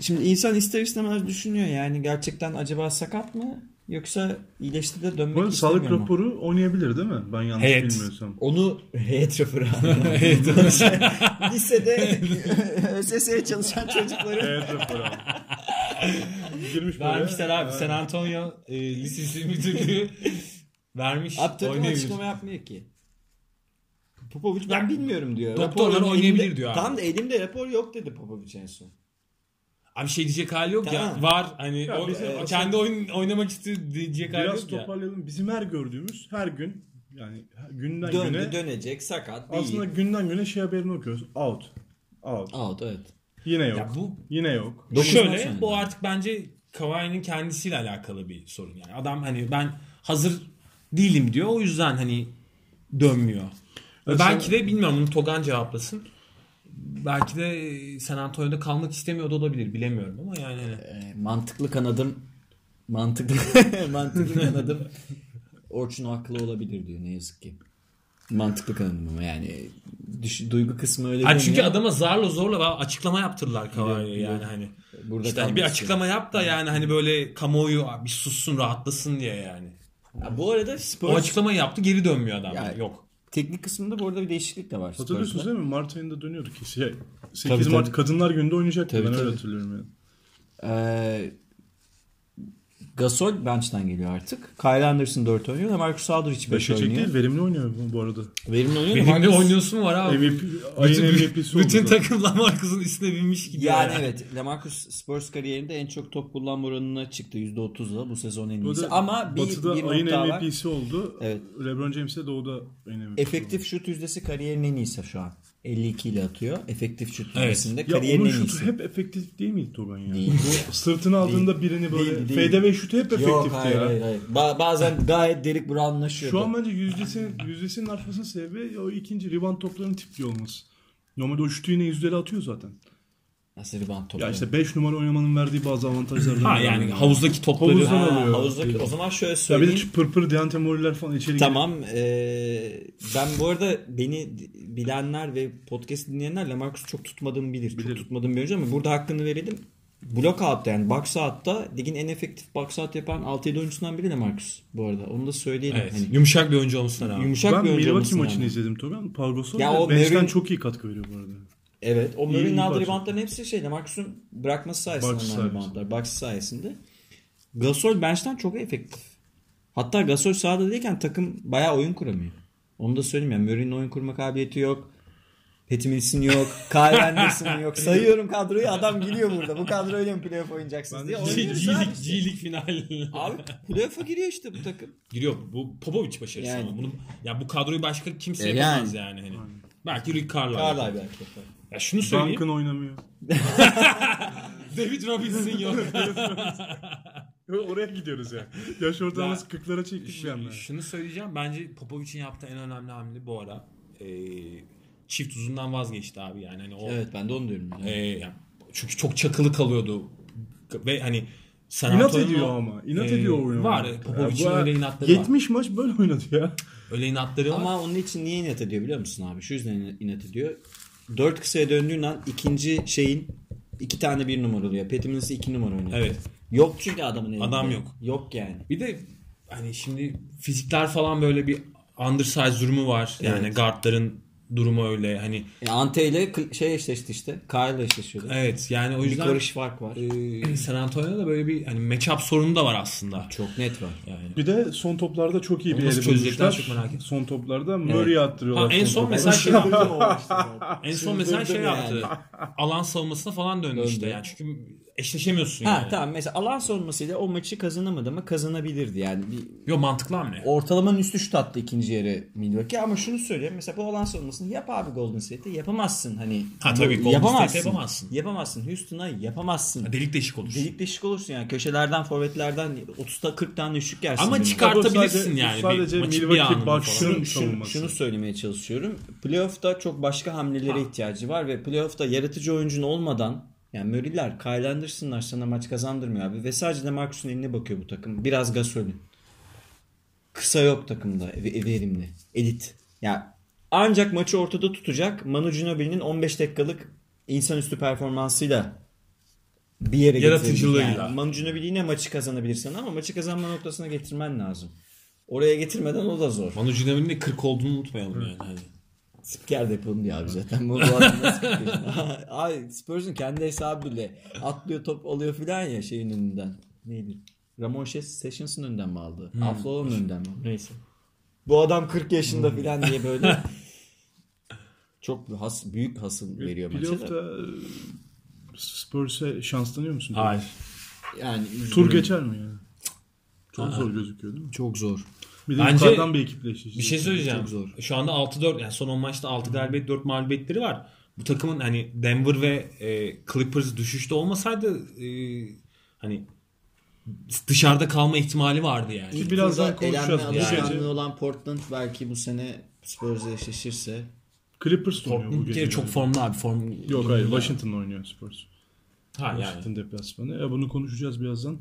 S2: Şimdi insan ister istemez düşünüyor yani gerçekten acaba sakat mı yoksa iyileşti de
S1: Bu
S2: dönmek
S1: arada
S2: istemiyor
S1: sağlık
S2: mu?
S1: raporu oynayabilir değil mi? Ben yanlış
S3: Heyet.
S1: bilmiyorsam.
S2: Onu heyet
S3: *laughs*
S2: raporu
S3: Evet.
S2: *laughs*
S3: *laughs*
S2: Lisede *laughs* ÖSS'ye çalışan çocukların
S1: Heyet raporu.
S2: *laughs*
S1: abi. Girmiş Ee, böyle.
S3: Vermişler abi. San Antonio e, Lisesi müdürlüğü vermiş.
S2: Aptalın
S3: oynayabilir.
S2: açıklama yapmıyor ki. Popovic ben bilmiyorum diyor.
S3: Doktorlar
S2: Raporun
S3: oynayabilir
S2: elimde-
S3: diyor abi.
S2: Tam da elimde rapor yok dedi Popovic en son.
S3: Abi şey diyecek hali yok
S2: Tamam.
S3: ya. Var hani
S1: Ya
S3: o,
S1: bizim
S3: e,
S1: aslında-
S3: kendi oyun oynamak istediği diyecek hali
S1: Biraz
S3: yok ya.
S1: toparlayalım. Bizim her gördüğümüz her gün yani her- günden
S2: Döndü
S1: güne
S2: dönecek sakat değil.
S1: aslında günden güne şey haberini okuyoruz. Out. Out.
S2: Out evet.
S1: Yine yok.
S3: Ya bu
S1: Yine yok.
S2: Dokuz maç
S3: Şöyle
S2: oynadı.
S3: bu artık bence Kawhi'nin kendisiyle alakalı bir sorun yani. Adam hani ben hazır değilim diyor. O yüzden hani dönmüyor. Ve
S1: Ya
S3: belki
S1: sen-
S3: de bilmiyorum bunu Togan cevaplasın. Belki de San Antonio'da kalmak istemiyor da olabilir. Bilemiyorum ama yani hani
S2: Ee, mantıklı kanadım mantıklı mantıklı *laughs* kanadım Orçun haklı olabilir diyor ne yazık ki. Mantıklı kanadım ama yani düş- duygu kısmı öyle
S3: Ha
S2: dönüyor.
S3: çünkü adama zarla zorla ba- açıklama yaptırdılar Kavai'ye yani hani.
S2: Burada şey.
S3: İşte hani bir
S2: kalmak
S3: açıklama yap da yani hani böyle kamuoyu "Aa, bir sussun rahatlasın diye yani.
S2: Ya bu arada
S3: O
S2: spor
S3: açıklamayı yaptı geri dönmüyor adam.
S2: Ya-
S3: Yok.
S2: teknik kısmında bu arada bir değişiklik de var.
S1: Hatırlıyorsunuz
S2: Spurs'ta.
S1: değil mi? Mart ayında dönüyordu ki. Şey, 8
S2: Tabii,
S1: Mart
S2: tabii.
S1: Kadınlar Günü'nde oynayacaktı.
S2: Tabii,
S1: ben
S2: tabii.
S1: öyle hatırlıyorum yani.
S2: Ee, Gasol bench'ten geliyor artık. Kyle Anderson 4 oynuyor. Lamarcus Aldridge 5
S1: Beşe
S2: oynuyor.
S1: değil, verimli oynuyor bu- bu arada.
S2: Verimli oynuyor.
S3: Benimle
S2: Lamarcus-
S3: oynuyorsun var abi.
S1: MVP, ayın
S3: Bütün,
S1: MVP'si
S3: bütün
S1: oldu.
S3: takım Lamarcus'un üstüne binmiş gibi.
S2: Yani evet Lamarcus Spurs kariyerinde en çok top kullanma oranına çıktı %30'la bu sezon en
S1: Bu
S2: iyisi.
S1: da
S2: Ama bir,
S1: Batı'da
S2: bir
S1: ayın
S2: nokta var.
S1: MVP'si oldu.
S2: Evet.
S1: LeBron James de Doğu'da ayın MVP'si
S2: Efektif şut yüzdesi kariyerin en iyisi şu an. 52 ile atıyor. Efektif şut
S3: Evet.
S2: yüzdesinde
S1: oldu. Ya
S2: kariyerin
S1: onun
S2: en
S1: şutu
S2: iyisi.
S1: hep efektif değil miydi Togan ya?
S2: Değil.
S1: *laughs* Bu sırtını aldığında birini böyle
S2: Değil, değil.
S1: fade ve şutu hep
S2: Yok
S1: efektifti
S2: hayır,
S1: ya.
S2: hayır hayır. Ba- bazen gayet Derek Brown'laşıyordu.
S1: Şu an bence yüzdesinin, yüzdesinin artmasının sebebi o ikinci rebound toplarının tipli olması. Normalde o şutu yine yüzdeli atıyor zaten.
S2: Nasıl rebound topu?
S1: Ya işte 5 numara oynamanın verdiği bazı avantajlardan.
S3: Ha
S1: biri.
S3: yani havuzdaki topları.
S1: Havuz-
S2: Ha,
S1: alıyor.
S2: havuzdaki- o zaman şöyle
S1: Ya bir
S2: söyleyeyim.
S1: de şu pırpır Deante Moriler falan içeri giriyor.
S2: Tamam. eee, ben bu arada beni d- bilenler ve podcast dinleyenler Lamarcus'u çok tutmadığımı bilir. Çok tutmadığım bir oyuncu ama burada hakkını verelim. Blok out'ta yani box out'ta ligin en efektif box out yapan 6-7 oyuncusundan biri Lamarcus bu arada. Onu da söyleyelim.
S3: Evet.
S2: Hani
S3: Yumuşak bir oyuncu olmasına rağmen. *laughs*
S2: yumuşak
S1: ben
S2: bir oyuncu
S1: Milwaukee
S2: olmasına
S1: maçını
S2: rağmen.
S1: izledim Togan. Pargoson
S2: Ya o
S1: ya bench'ten
S2: Maverick-
S1: çok iyi katkı veriyor bu arada.
S2: Evet. O Murray'nin
S1: iyi
S2: aldığı
S1: parça.
S2: reboundların hepsi şey Lamarcus'un bırakması sayesinde
S1: Box
S2: alınan
S1: sayesinde.
S2: reboundlar. Box sayesinde. Gasol bench'ten çok efektif. Hatta Gasol sahada değilken takım bayağı oyun kuramıyor. Onu da söyleyeyim yani Murray'nin oyun kurma kabiliyeti yok. Patty
S1: *laughs*
S2: Mills'in yok. Kyle Anderson yok. Sayıyorum kadroyu adam gülüyor burada. Bu kadroyla mı playoff oynayacaksınız
S1: Ben
S2: diye.
S1: de- şey
S2: Oynuyoruz abi.
S3: G-League, G-League final.
S2: Abi playoff'a giriyor işte bu takım.
S3: Giriyor. Bu Popovic başarısı
S2: Yani.
S3: ama. Bunu, ya bu kadroyu başka kimse
S2: E,
S3: yapamaz yani. hani. Belki Rick Carlisle.
S2: Carlisle belki. yapar.
S3: Ya şunu söyleyeyim.
S1: Duncan oynamıyor.
S3: David
S2: *laughs*
S3: Robinson yok.
S1: Oraya gidiyoruz ya. Yaş ortalaması 40'lara çektik bir anda.
S3: Ee, Şunu söyleyeceğim. Bence Popovic'in yaptığı en önemli hamle bu ara. Ee, çift uzundan vazgeçti abi yani. Hani o
S2: Evet ben de onu diyorum.
S3: Ee, yani çünkü çok çakılı kalıyordu ve hani San
S1: İnat
S3: Antonio'nun
S1: ediyor
S3: o-
S1: ama. İnat
S3: Ee,
S1: ediyor oyunu.
S3: Var. Popovic'in
S1: Ya bu-
S3: öyle inatları var.
S1: 70 maç böyle oynadı ya.
S3: Öyle inatları var.
S2: Ama onun için niye inat ediyor biliyor musun abi? Şu yüzden inat ediyor. Dört kısaya döndüğün an ikinci şeyin iki tane bir numara oluyor. Patty Mills iki numara oynuyor.
S3: Evet.
S2: Yok çünkü adamın elinde.
S3: Adam yok.
S2: Yok yani.
S3: Bir de hani şimdi fizikler falan böyle bir undersize durumu var. Yani guardların durumu öyle. Hani
S2: E, Ante ile Cl- şey eşleşti işte. Kyle ile eşleşiyordu.
S3: evet yani o
S2: bir
S3: yüzden
S2: karış fark var.
S3: e, San Antonio'da böyle bir hani matchup sorunu da var aslında.
S2: Çok net var.
S3: Yani.
S1: Bir de son toplarda çok iyi bir
S3: Nasıl
S1: yeri
S3: çözecekler
S1: bulmuşlar.
S3: çok merak ediyorum.
S1: Son toplarda Murray'i attırıyorlar.
S3: Ha, en son mesela şey En son mesela şey
S2: Çıldırdım
S3: yaptı. *laughs* Alan savunmasına falan döndü,
S2: Döndü.
S3: işte. Yani çünkü eşleşemiyorsun
S2: Ha
S3: yani.
S2: tamam mesela alan sormasıyla o maçı kazanamadı ama kazanabilirdi yani. Bir
S3: Yo mantıklı hamle.
S2: ortalamanın üstü şut attı ikinci yarı Milwaukee ama şunu söyleyeyim mesela bu alan sormasını yap abi Golden State'e yapamazsın hani.
S3: Ha,
S2: Bu-
S3: tabii, Golden State'e
S2: yapamazsın.
S3: yapamazsın.
S2: Yapamazsın. Houston'a yapamazsın.
S3: Delik deşik olur.
S2: Delik deşik olursun yani köşelerden forvetlerden 30'ta 40 tane düşük yersin.
S3: Ama
S2: benim.
S3: çıkar- Çıkartabilirsin
S1: Sadece-
S3: yani bir
S1: Sadece
S3: maçın bir
S1: Milwaukee
S3: anını
S1: Bucks'ın
S3: falan.
S2: şunu, şunu,
S1: savunması.
S2: şunu söylemeye çalışıyorum. Playoff'ta çok başka hamlelere ihtiyacı var ve playoff'ta yaratıcı oyuncun olmadan yani Murray'ler, Kyle Anderson'lar sana maç kazandırmıyor abi. Ve sadece de Marcus'un eline bakıyor bu takım. Biraz Gasol'ün. Kısa yok takımda. ve- Verimli. Elit. Yani ancak maçı ortada tutacak Manu Ginobili'nin 15 dakikalık insanüstü performansıyla bir yere getirebilir.
S3: Yaratıcılığıyla.
S2: Yani Manu Ginobili yine maçı kazanabilirsen ama maçı kazanma noktasına getirmen lazım. Oraya getirmeden o da zor.
S3: Manu Ginobili'nin de 40 olduğunu unutmayalım yani. Hani.
S2: Spiker de yapalım diye abi zaten. Bu, bu adam nasıl *laughs* kırkıyor? Ay Spurs'un kendi hesabı bile atlıyor top alıyor filan ya şeyin önünden. Neydi? Ramon Shes- Sessions'ın önünden mi aldı? Hmm. önünden mi? Neyse. Hmm. Bu adam 40 yaşında filan diye *laughs* böyle çok has, büyük hasıl veriyor maça da.
S1: Playoff'ta e, Spurs'e şanslanıyor musun?
S3: Hayır.
S2: Yani
S1: Tur
S2: üzgünüm.
S1: geçer mi yani? Çok zor gözüküyor değil mi?
S2: Çok zor.
S1: Bir de
S3: Bence-
S1: yukarıdan bir ekiple eşleşecek.
S3: Bir şey söyleyeceğim.
S2: Çok zor.
S3: Şu anda 6-4 yani son 10 maçta 6 galibiyet 4 mağlubiyetleri var. Bu takımın hani Denver ve e, Clippers düşüşte olmasaydı e, hani dışarıda kalma ihtimali vardı yani.
S1: Ki birazdan
S2: Turda
S1: konuşacağız
S2: elenme
S1: bu gece.
S2: alışkanlığı olan Portland belki bu sene Spurs'la eşleşirse
S1: Clippers da oynuyor bu
S3: Portland bir
S1: gece.
S3: kere çok
S1: yani.
S3: formlu abi. Form
S1: Yok hayır Washington oynuyor Spurs.
S3: Ha yani.
S1: Washington deplasmanı. E, bunu konuşacağız birazdan.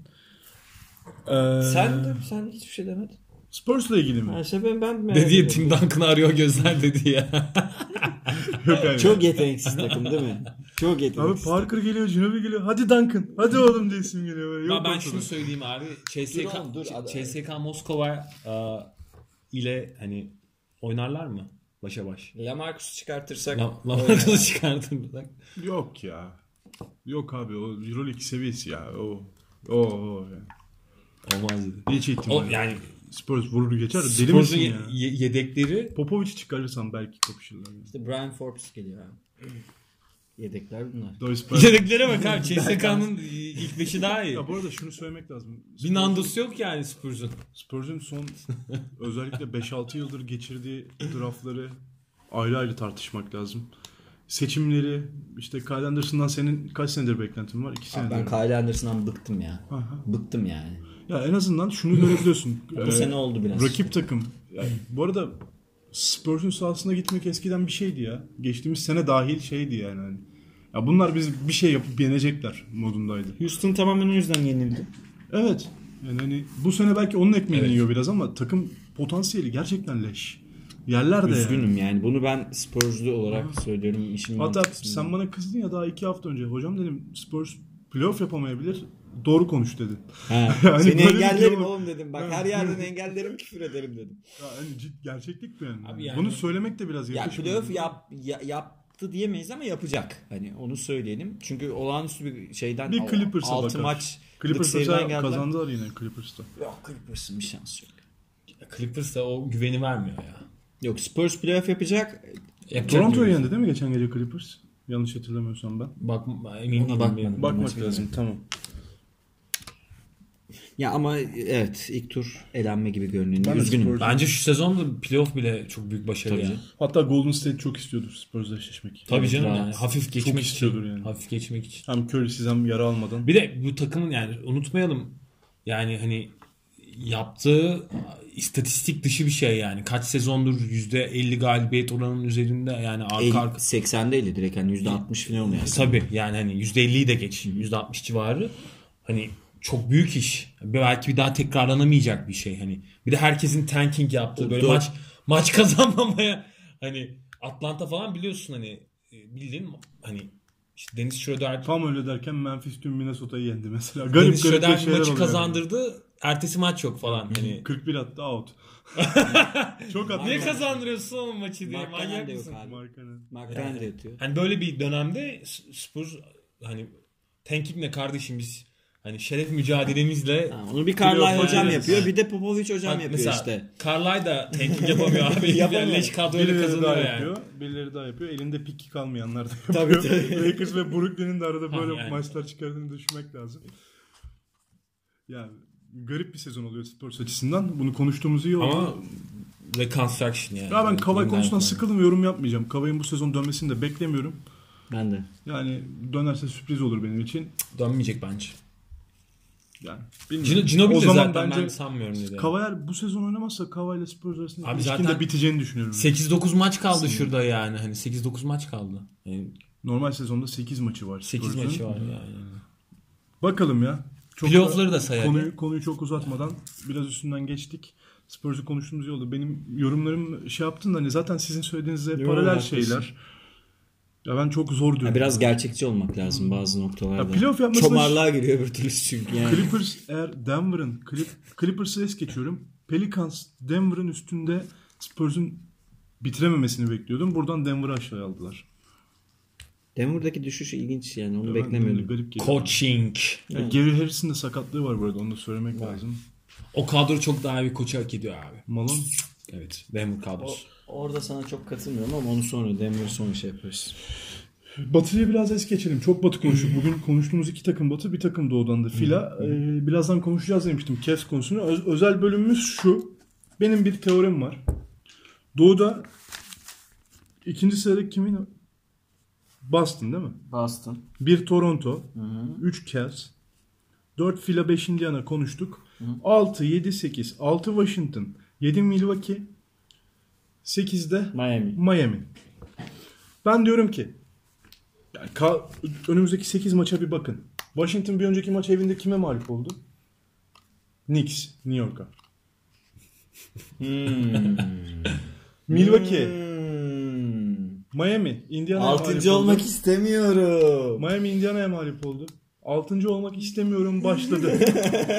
S1: Ee,
S2: sen de sen hiçbir şey demedin.
S1: Spurs'la ilgili mi?
S2: Her şey ben ben
S3: Dedi ya Tim Duncan'ı arıyor gözler dedi ya.
S1: Yok yani.
S2: Çok yeteneksiz takım değil mi? Çok
S1: Abi
S2: yeteneksiz.
S1: Parker geliyor, Ginobili geliyor. Hadi Duncan. Hadi oğlum diye isim geliyor. Böyle. Yok
S3: Ya ben
S1: ortada.
S3: şunu söyleyeyim abi.
S2: Dur
S3: CSK,
S2: oğlum, dur. Adam-
S3: CSK Moskova e, ile hani oynarlar mı? Başa baş.
S2: Lamarcus'u çıkartırsak
S3: La- Lamarcus'u çıkardım. Bak.
S1: Yok ya. Yok abi o Euroleague seviyesi ya. O. O. o yani.
S3: Olmaz dedi.
S1: Hiç ihtimal.
S3: O,
S1: yok.
S3: yani
S1: Spurs vurur geçer. Deli
S3: Spurs'un
S1: misin
S3: ye-
S1: ya?
S3: ye- yedekleri
S1: Popovic'i çıkarırsan belki kapışırlar. Yani.
S2: işte Brian Forbes geliyor abi. *clears throat* Yedekler bunlar.
S1: Doris Berg-
S3: yedeklere bak abi. CSK'nın ilk beşi daha iyi.
S1: Ya bu arada şunu söylemek lazım.
S3: Bir Nandos yok yani Spurs'un.
S1: Spurs'un son *laughs* özellikle 5-6 yıldır geçirdiği draftları ayrı ayrı tartışmak lazım. Seçimleri işte Kyle Anderson'dan senin kaç senedir beklentin var? 2 senedir.
S2: Ben Kyle Anderson'dan bıktım ya. Bıktım yani.
S1: Ya en azından şunu görebiliyorsun. Ee,
S2: Bu sene oldu biraz.
S1: Rakip takım. Yani bu arada Spurs'un sahasına gitmek eskiden bir şeydi ya. Geçtiğimiz sene dahil şeydi yani. Hani. Ya bunlar biz bir şey yapıp yenecekler modundaydı.
S2: Houston tamamen o yüzden yenildi.
S1: Evet. Yani hani bu sene belki onun ekmeğini
S3: Evet.
S1: yiyor biraz ama takım potansiyeli gerçekten leş. Yerler de yani.
S2: Üzgünüm yani. Bunu ben Spurs'lu olarak söylüyorum. İşim
S1: Hatta sen bana kızdın ya daha iki hafta önce. Hocam dedim Spurs playoff yapamayabilir. Doğru konuş dedin. *laughs* Hani
S2: Seni
S1: böyle bir
S2: engellerim
S1: durum-
S2: oğlum dedim. Bak
S1: Ha.
S2: her yerden engellerim küfür ederim dedim.
S1: Ya hani cid, gerçeklik bu yani.
S3: Abi yani-
S1: Bunu söylemek de biraz
S2: Ya
S1: yakışmıyor.
S2: playoff yap, ya- yaptı diyemeyiz ama yapacak. Hani onu söyleyelim. Çünkü olağanüstü bir şeyden
S1: Bir Clippers'a
S2: 6
S1: bakar.
S2: maç
S1: Clippers
S2: seriden
S1: mesela
S2: geldiler.
S1: kazandılar yine Clippers'ta.
S2: Yok Clippers'ın bir şansı yok.
S3: Clippers da o güveni vermiyor ya.
S2: Yok Spurs playoff yapacak.
S3: Yapacak
S1: Toronto'yu
S3: gibi.
S1: yendi değil mi geçen gece Clippers? Yanlış hatırlamıyorsam ben.
S3: Bak
S2: Ona
S3: emin değilim. yani.
S2: bakmadım.
S1: Bakmak
S2: maç
S1: lazım tamam.
S2: Ya ama evet ilk tur elenme gibi görünüyor.
S1: Ben de
S2: Üzgünüm.
S1: Spurs-
S3: Bence şu sezonda playoff bile çok büyük başarı
S2: Tabii
S3: ya.
S2: canım.
S1: Hatta Golden State çok istiyordur Spurs'la eşleşmek.
S3: Tabii canım
S2: Evet,
S3: yani.
S2: rahat.
S3: Hafif geçmek
S1: istiyordur
S3: için.
S1: yani.
S3: Hafif geçmek için.
S1: Hem Curry'siz hem yara almadan.
S3: Bir de bu takımın yani unutmayalım yani hani yaptığı istatistik dışı bir şey yani. Kaç sezondur %50 galibiyet oranının üzerinde yani
S2: El-
S3: arka arka.
S2: 80'de 50 direkt hani %60 falan oluyor.
S3: Tabii yani hani %50'yi de geç. %60 civarı. Hani çok büyük iş. Belki bir daha tekrarlanamayacak bir şey hani. Bir de herkesin tanking yaptığı böyle
S2: Doğru.
S3: maç maç *laughs* kazanmamaya hani Atlanta falan biliyorsun hani e, bildiğin hani işte Dennis Schroeder
S1: Tam öyle derken Memphis dün Minnesota'yı yendi mesela. Garip
S3: Dennis
S1: garip
S3: Schroeder
S1: bir şeyler
S3: maçı
S1: oluyor.
S3: kazandırdı. ertesi maç yok falan. Hani
S1: 41 attı out. Çok attı.
S3: Niye kazandırıyorsun oğlum maçı diye
S2: Mark
S3: manyak
S2: Allen de yok
S3: mısın?
S2: abi.
S1: Markkanen.
S2: Markkanen de yatıyor.
S3: Hani böyle bir dönemde S- Spurs hani tanking ne kardeşim biz hani şeref mücadelemizle
S2: Ha, onu bir Carlisle
S3: Playoff
S2: hocam
S3: oynuyoruz.
S2: yapıyor. Bir de Popovic hocam
S3: Bak
S2: yapıyor
S3: mesela
S2: işte.
S3: Carlisle da
S2: *laughs*
S3: tanking yapamıyor abi.
S2: Yapamıyor.
S3: yapamıyor. Leş kadroyla
S1: Birileri
S3: kazanıyor
S1: daha
S3: yani.
S1: yapıyor. Birileri daha yapıyor. Elinde piki kalmayanlar da
S2: Tabii,
S1: yapıyor. *laughs* Lakers ve Brooklyn'in de arada
S3: Ha,
S1: böyle
S3: yani.
S1: maçlar çıkardığını düşünmek lazım. Yani garip bir sezon oluyor Spurs açısından. Bunu konuştuğumuz iyi oldu.
S3: Ama reconstruction yani.
S1: ya ben Kavay
S3: Bundan
S1: konusundan
S3: sonra.
S1: sıkıldım yorum yapmayacağım. Kavay'ın bu sezon dönmesini de beklemiyorum.
S2: Ben de.
S1: Yani dönerse sürpriz olur benim için.
S3: Dönmeyecek bence.
S1: Yani
S3: Cino, Ginobili
S1: O zaman
S3: zaten
S1: bence
S3: ben sanmıyorum dedi.
S1: Kavayar bu sezon oynamazsa Kavay ile Spurs arasında
S3: Abi
S1: ilişkin de
S3: zaten-
S1: biteceğini düşünüyorum.
S3: 8-9 maç kaldı şurada yani. Hani 8-9 maç kaldı. Yani
S1: Normal sezonda 8 maçı var.
S3: 8
S1: Spurs'un.
S3: maçı var yani.
S1: Bakalım ya. Çok
S3: Playoff'ları da sayar.
S1: Konuyu, konuyu çok uzatmadan biraz üstünden geçtik. Spurs'u konuştuğumuz yolda benim yorumlarım şey yaptın da hani zaten sizin söylediğinizle
S2: Yo,
S1: paralel
S2: haklısın.
S1: şeyler. Ya ben çok zor
S2: Ha,
S1: diyorum.
S2: biraz gerçekçi olmak lazım bazı
S1: Ya,
S2: noktalarda.
S1: playoff yapmasına-
S2: Çomarlığa giriyor öbür türlü çünkü yani.
S1: Clippers eğer Denver'ın Clip- Clippers'ı es geçiyorum. Pelicans Denver'ın üstünde Spurs'un bitirememesini bekliyordum. Buradan Denver'ı aşağıya aldılar.
S2: Denver'daki düşüş ilginç yani onu
S1: Ben
S2: beklemiyordum.
S1: Garip geliyor.
S3: Coaching.
S1: Ya Gary Harris'in de sakatlığı var burada onu da söylemek lazım.
S3: O kadro çok daha iyi bir koça hak ediyor abi.
S1: Malon
S3: Evet. Denver kadrosu.
S2: Orada sana çok katılmıyorum ama onu sonra Denver sonra şey yaparız.
S1: Batı'yı biraz es geçelim. Çok Batı konuştuk. Bugün konuştuğumuz iki takım Batı, bir takım Doğu'dan da fila. Ee, birazdan konuşacağız demiştim Kes konusunu. Öz- özel bölümümüz şu. Benim bir teorim var. Doğu'da ikinci sırada kimin? Boston değil mi?
S2: Boston.
S1: Bir Toronto, 3 Cavs, 4 fila 5 Indiana konuştuk. 6, 7, 8, 6 Washington, 7 Milwaukee, 8'de
S2: Miami.
S1: Miami. Ben diyorum ki yani ka- önümüzdeki 8 maça bir bakın. Washington bir önceki maç evinde kime mağlup oldu? Knicks, New York'a.
S2: Hmm.
S1: Milwaukee, Miami, Indiana'ya mağlup
S2: Altıncı
S1: Hmm. oldu.
S2: olmak istemiyorum.
S1: Miami Indiana'ya mağlup oldu. Altıncı olmak istemiyorum
S2: *laughs*
S1: başladı.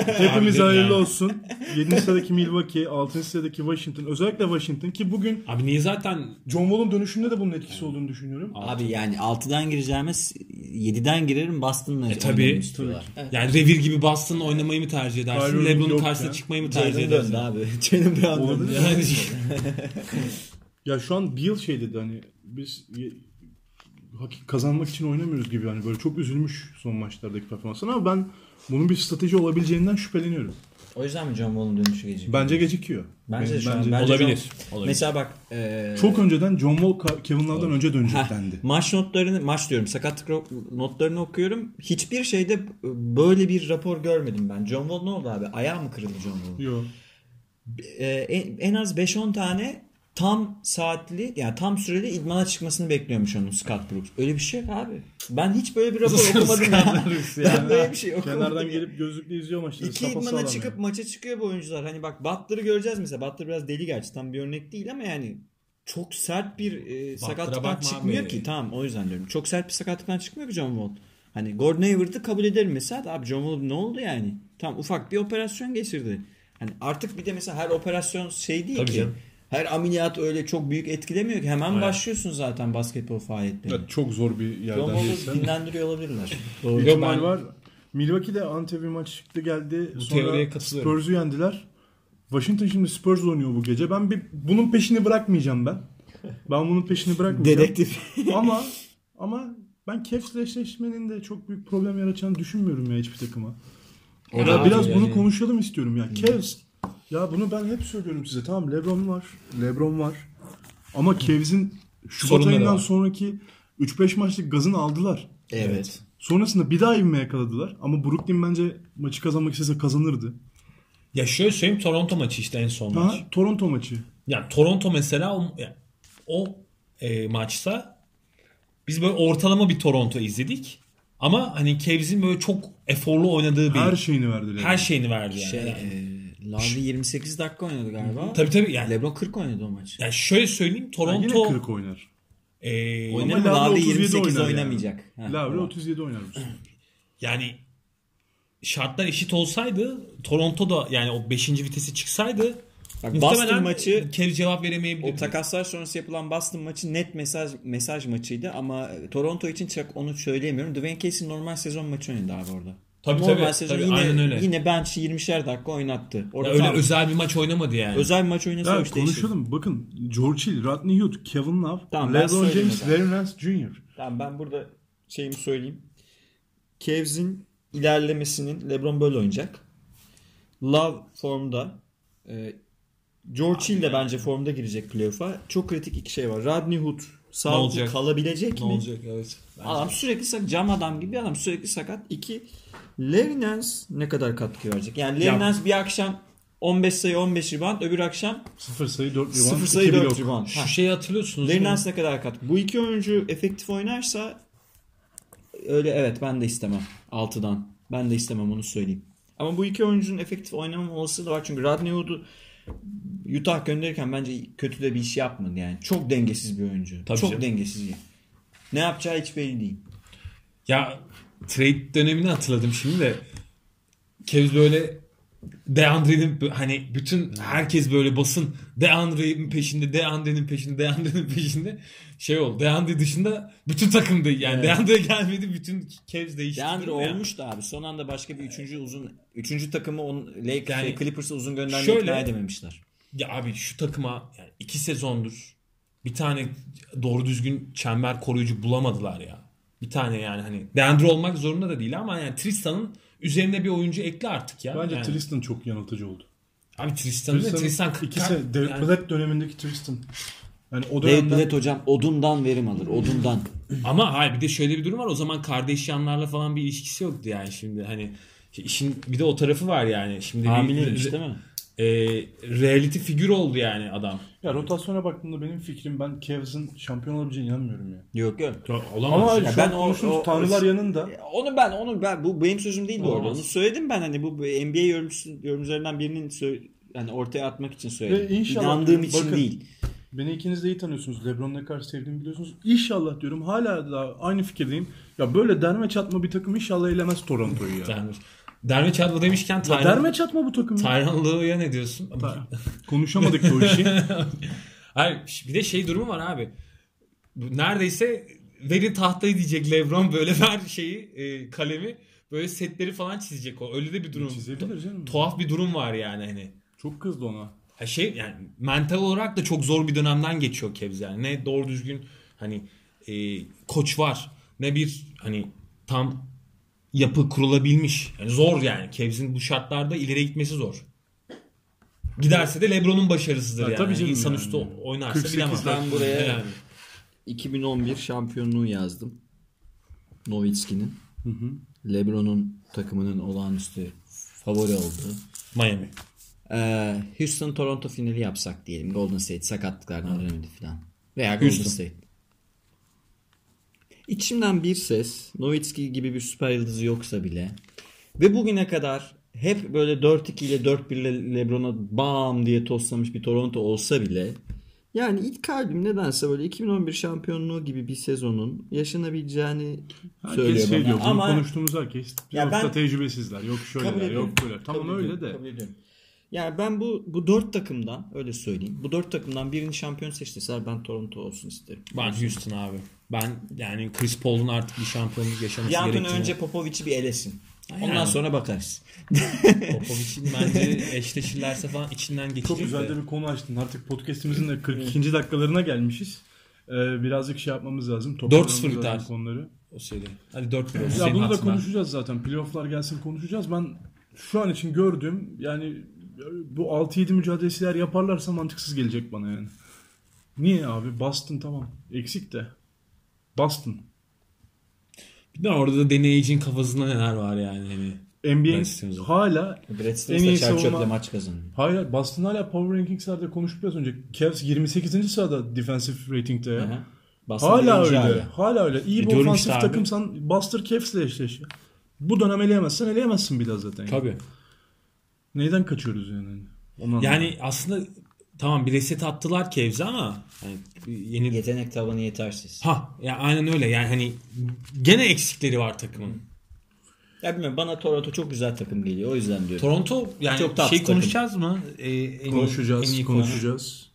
S1: Hepimiz
S3: Harbiden
S1: hayırlı
S3: ya.
S1: olsun. 7. sıradaki Milwaukee, 6. sıradaki Washington. Özellikle Washington ki bugün
S3: Abi niye zaten
S1: John Wall'un dönüşünde de bunun etkisi olduğunu düşünüyorum.
S2: Abi yani 6'dan gireceğimiz 7'den girerim Boston'la e,
S3: tabii. yani revir gibi Boston'la oynamayı mı tercih
S1: Kyrie
S3: edersin?
S1: Irving
S3: LeBron'un
S1: yok
S3: karşısına
S1: ya.
S3: çıkmayı mı tercih
S2: Jalen
S3: edersin?
S2: döndü abi. *laughs* Jalen bir an döndü.
S1: Olabilir.
S3: Yani
S1: Ya şu an Beal şey dedi hani biz ye- hak- kazanmak için oynamıyoruz gibi hani böyle çok üzülmüş son maçlardaki performansına ama ben bunun bir strateji olabileceğinden şüpheleniyorum.
S2: O yüzden mi John Wall'un dönüşü gelecek?
S1: Bence gecikiyor.
S2: Bence
S1: Ben-
S2: de şu an-
S1: bence-
S2: bence
S3: olabilir.
S2: John-
S3: olabilir.
S2: Mesela bak e,
S1: çok önceden John Wall Ka- Kevin Love'dan önce dönecek
S2: heh,
S1: dendi.
S2: maç notlarını maç diyorum sakatlık ro- notlarını okuyorum. Hiçbir şeyde böyle bir rapor görmedim ben. John Wall ne oldu abi? Ayağı mı kırıldı John Wall'un?
S1: Yo.
S2: E, en, en az 5-10 tane tam saatli yani tam süreli idmana çıkmasını bekliyormuş onun Scott Brooks. Öyle bir şey yok abi. Ben hiç böyle bir rapor okumadım. ya. Ben *laughs* böyle bir şey okumadım.
S1: Kenardan
S2: ya.
S1: gelip gözlükle izliyor maçları.
S2: İki
S1: sapasağlam
S2: idmana
S1: yani.
S2: çıkıp maça çıkıyor bu oyuncular. Hani bak Butler'ı göreceğiz mesela. Butler biraz deli gerçi tam bir örnek değil ama yani çok sert bir e, sakatlıktan
S3: bakma
S2: çıkmıyor
S3: abi.
S2: ki. Tamam o yüzden diyorum. Çok sert bir sakatlıktan çıkmıyor ki John Wall. Hani Gordon Hayward'ı kabul ederim mesela. Abi John Wall ne oldu yani? Tamam ufak bir operasyon geçirdi. Hani artık bir de mesela her operasyon şey değil
S3: Tabii
S2: ki.
S3: canım.
S2: Her ameliyat öyle çok büyük etkilemiyor ki. Hemen
S3: Aynen.
S2: başlıyorsun zaten basketbol faaliyetlerine.
S1: Evet, çok zor bir
S2: John
S1: yerden
S2: Wall'u
S1: geçsen.
S2: dinlendiriyor olabilirler. Doğru.
S1: Bir
S3: *laughs*
S1: ihtimal var. Milwaukee'de Antep'e bir maç çıktı geldi.
S3: Bu teoriye
S1: Sonra
S3: katılıyorum.
S1: Spurs'u yendiler. Washington şimdi Spurs oynuyor bu gece. Ben bir bunun peşini bırakmayacağım ben. Ben bunun peşini bırakmayacağım.
S2: Dedektif.
S1: ama ama ben Cavs'le eşleşmenin de çok büyük problem yaratacağını düşünmüyorum ya hiçbir takıma.
S3: O
S1: Ya
S3: da
S1: biraz
S3: abi
S1: bunu
S3: yani. Hmm.
S1: konuşalım istiyorum ya. Cavs ya bunu ben hep söylüyorum size. Tamam LeBron var. LeBron var. Ama Cavs'in Şubat
S3: Sorunları
S1: ayından
S3: var.
S1: sonraki 3-5 maçlık gazını aldılar.
S2: Evet.
S1: Sonrasında bir daha ivme yakaladılar. Ama Brooklyn bence maçı kazanmak istese kazanırdı.
S3: Ya şöyle söyleyeyim Toronto maçı işte en son maç.
S1: Ha, Toronto maçı.
S3: Yani Toronto mesela o, ya, o e, maçta biz böyle ortalama bir Toronto izledik. Ama hani Cavs'in böyle çok eforlu oynadığı bir
S1: Her
S3: her,
S1: şeyini verdiler.
S3: şeyini verdi yani.
S2: Şey,
S3: yani.
S2: e, Lavi 28 dakika oynadı galiba.
S3: Tabii tabii yani.
S2: LeBron 40 oynadı o maç.
S3: yani şöyle söyleyeyim
S1: Yani yine
S3: Toronto
S1: 40 oynar.
S3: e,
S2: Oynar
S1: Ama
S2: mı?
S1: Lavri
S2: Lavi
S1: 37
S2: 28
S1: oynar yani.
S2: oynamayacak. Ha,
S1: Lavre
S2: tamam.
S1: 37 oynar. bu sene.
S3: yani şartlar eşit olsaydı Toronto da yani o 5. vitesi çıksaydı
S2: Bak, Boston
S3: muhtemelen
S2: maçı-
S3: maçı Kev cevap
S2: O
S3: veremeyebilirdi.
S2: takaslar sonrası yapılan Boston maçı net mesaj mesaj maçıydı ama e, Toronto için çok onu söyleyemiyorum. Dwayne Casey normal sezon maçı oynadı abi orada.
S3: Tabii,
S2: normal
S3: tabii,
S2: sezon
S3: tabii,
S2: yine,
S3: aynen öyle.
S2: yine bench 20'şer dakika oynattı. Orada
S3: Ya öyle
S2: tam- özel,
S3: özel bir maç oynamadı yani.
S2: bir maç oynasa
S1: Ya
S2: o iş değişir.
S1: konuşalım. Bakın George Hill, Rodney Hood, Kevin Love,
S2: Tamam, ben
S1: LeBron
S2: söyleyeyim
S1: James,
S2: o zaman.
S1: Larry Nance Jr.
S2: Tamam ben burada şeyimi söyleyeyim. Cavs'in ilerlemesinin LeBron böyle oynayacak. Love formda. Ee, George Hill de bence formda girecek playoff'a. Çok kritik iki şey var. Rodney Hood
S3: Ne
S2: sağ
S3: olacak?
S2: kalabilecek
S3: ne
S2: mi?
S3: olacak evet. Bence-
S2: Adam sürekli sakat. Cam adam gibi adam sürekli sakat. İki, Larry Nance ne kadar katkı verecek? Yani Larry
S3: Ya-
S2: Nance bir akşam 15 sayı 15 rebound öbür akşam
S1: 0 sayı 4 rebound,
S2: 0
S1: 2
S2: sayı 4
S1: blok.
S2: rebound. Ha.
S3: Şu şeyi hatırlıyorsunuz
S2: Larry
S3: değil mi?
S2: Nance ne kadar katkı? Bu iki oyuncu efektif oynarsa öyle evet ben de istemem 6'dan. Ben de istemem onu söyleyeyim. Ama bu iki oyuncunun efektif oynamam olasılığı da var. Çünkü Rodney Hood'u Utah gönderirken bence kötü de bir iş yapmadı yani. Çok dengesiz bir oyuncu.
S3: Tabii
S2: Çok
S3: canım.
S2: dengesiz. Ne yapacağı hiç belli değil.
S3: Ya trade dönemini hatırladım şimdi de. Kevz böyle DeAndre'nin hani bütün herkes böyle basın DeAndre'nin peşinde, DeAndre'nin peşinde, DeAndre'nin peşinde şey oldu. DeAndre dışında bütün takımdı yani. DeAndre gelmedi bütün Kevz değişti.
S2: DeAndre
S3: Yani.
S2: olmuştu abi. Son anda başka bir üçüncü uzun üçüncü takımı on, Lakers,
S3: Yani-
S2: Clippers'ı uzun göndermeye
S3: Şöyle-
S2: ikna edememişler.
S3: Ya abi şu takıma yani iki sezondur bir tane doğru düzgün çember koruyucu bulamadılar ya. Bir tane yani hani DeAndre olmak zorunda da değil ama yani Tristan'ın üzerine bir oyuncu ekle artık ya.
S1: Bence
S3: yani.
S1: Tristan çok yanıltıcı oldu.
S3: Abi Tristan'ın
S1: Tristan,
S3: Tristan, Tristan
S1: ikisi
S3: kırk-
S1: David
S3: yani-
S1: Blatt dönemindeki Tristan. Yani o
S2: David
S1: dönemden
S2: Blatt hocam odundan verim alır. Odundan.
S3: Ama hayır bir de şöyle bir durum var. O zaman kardeşyanlarla falan bir ilişkisi yoktu yani şimdi hani işin bir de o tarafı var yani. Şimdi
S2: Hamileymiş değil mi?
S3: E, reality figür oldu yani adam.
S1: ya rotasyona baktığımda benim fikrim ben Cavs'ın şampiyon olabileceğine inanmıyorum ya.
S2: Yok yok.
S3: Olamaz.
S1: Ama
S2: Ya
S1: şu
S2: ben
S1: ben
S2: o-
S1: konuştuğumuz
S2: o-
S1: tanrılar
S2: o-
S1: yanında
S2: Onu ben onu ben bu benim sözüm değil bu arada.
S3: Olmaz.
S2: Onu söyledim ben hani bu NBA yorumcusu- yorumcularından birinin sö- yani ortaya atmak için söyledim.
S1: Ve inşallah-
S2: İnandığım için
S1: bakın-
S2: değil.
S1: Beni ikiniz de iyi tanıyorsunuz. Lebron'u ne kadar sevdiğimi biliyorsunuz. İnşallah diyorum. Hala da aynı fikirdeyim. Ya böyle derme çatma bir takım inşallah elemez Toronto'yu ya.
S3: Derme, derme çatma demişken
S1: ya
S3: Tayran,
S1: derme çatma bu takım. ya.
S3: Tayran Lue'ya ne diyorsun?
S1: Konuşamadık da o işi.
S3: Hayır bir de şey durumu var abi. Bu Neredeyse verin tahtayı diyecek Lebron böyle *laughs* ver şeyi e, kalemi böyle setleri falan çizecek o. Öyle de bir durum.
S1: Çizebilir canım.
S3: Tuhaf bir durum var yani hani.
S1: Çok kızdı ona.
S3: Ha şey yani mental olarak da çok zor bir dönemden geçiyor Kevz yani. Ne doğru düzgün hani e, koç var ne bir hani tam yapı kurulabilmiş. Yani zor yani Kevz'in bu şartlarda ileri gitmesi zor. Giderse de LeBron'un başarısızdır
S1: Ya
S3: yani.
S1: tabii canım
S3: İnsan
S1: yani.
S3: üstü oynarsa
S1: 48
S3: bilemez.
S2: Ben buraya-
S3: Yani.
S2: 2011 şampiyonluğu yazdım. Nowitzki'nin. LeBron'un takımının olağanüstü favori olduğu.
S3: Miami.
S2: Ee, Houston Toronto finali yapsak diyelim. Golden State sakatlıklardan döneminde falan. Veya Golden State. İçimden bir ses Nowitzki gibi bir süper yıldızı yoksa bile ve bugüne kadar hep böyle 4-2 ile 4-1 ile Lebron'a bam diye toslamış bir Toronto olsa bile yani ilk kalbim nedense böyle 2011 şampiyonluğu gibi bir sezonun yaşanabileceğini
S1: Herkes
S2: söylüyor
S1: şey
S2: bana.
S1: diyor. Bunu
S2: Ama
S1: konuştuğumuz herkes.
S2: Ya
S1: Ya
S2: ben-
S1: ben... tecrübesizler. Yok şöyleler
S2: ediyorum.
S1: yok böyle. Tamam
S2: Kabul
S1: öyle
S2: ediyorum,
S1: de.
S2: kabul ediyorum. Yani ben bu bu dört takımdan öyle söyleyeyim. Bu dört takımdan birini şampiyon seçtiler ben Toronto olsun isterim.
S3: Ben Houston abi. Ben yani Chris Paul'un artık bir şampiyonluk yaşaması
S2: Bir an
S3: gerektiğini.
S2: önce Popovic'i bir elesin. Ondan
S3: Aynen.
S2: sonra bakarız.
S3: Popovic'in bence eşleşirlerse falan içinden geçecek.
S1: Çok güzel
S3: de.
S1: de bir konu açtın. Artık podcastimizin de 42. dakikalarına gelmişiz. Ee, birazcık şey yapmamız lazım. toparlamamız
S3: 4-0
S1: lazım
S3: biter.
S1: konuları.
S3: O seri. Hadi 4 1 olsun.
S1: Ya
S3: Senin
S1: bunu da
S3: hatırına.
S1: konuşacağız zaten. Playoff'lar gelsin konuşacağız. Ben şu an için gördüm. Yani bu 6-7 mücadelesiler yaparlarsa mantıksız gelecek bana yani. Niye abi? Boston tamam. Eksik de. Boston.
S3: Bilmiyorum orada da deneyicinin kafasında neler var yani. Hani.
S1: NBA'nin
S3: Boston'ın-
S1: hala
S2: Brad
S1: En
S2: Stevens
S1: iyi
S2: da çer
S1: savunma-
S2: çöple maç kazanıyor.
S1: Hayır Boston hala Power Rankings'lerde konuştuk biraz önce. Cavs 28. sırada defensive rating'de ya.
S2: Hı hı. Boston
S1: Hala
S2: birinci
S1: öyle.
S2: hala.
S1: Hala öyle. İyi bir
S3: diyorum
S1: ofansif
S3: işte abi.
S1: takımsan Buster Cavs'le eşleş. ya. Bu dönem eleyemezsen eleyemezsin bir daha zaten.
S3: Tabii.
S1: Neyden kaçıyoruz yani? Ondan
S3: Yani aslında tamam bir reset attılar Kevze ama hani yeni
S2: Yetenek tavanı yetersiz.
S3: ha ya aynen öyle yani hani gene eksikleri var takımın.
S2: Ya bilmiyorum bana Toronto çok güzel takım geliyor. O yüzden diyorum.
S3: Toronto yani
S2: Çok tatlı
S3: şey
S2: takım.
S3: konuşacağız mı? Ee, en iyi- en
S1: Konuşacağız,
S3: iyi
S1: konuşacağız.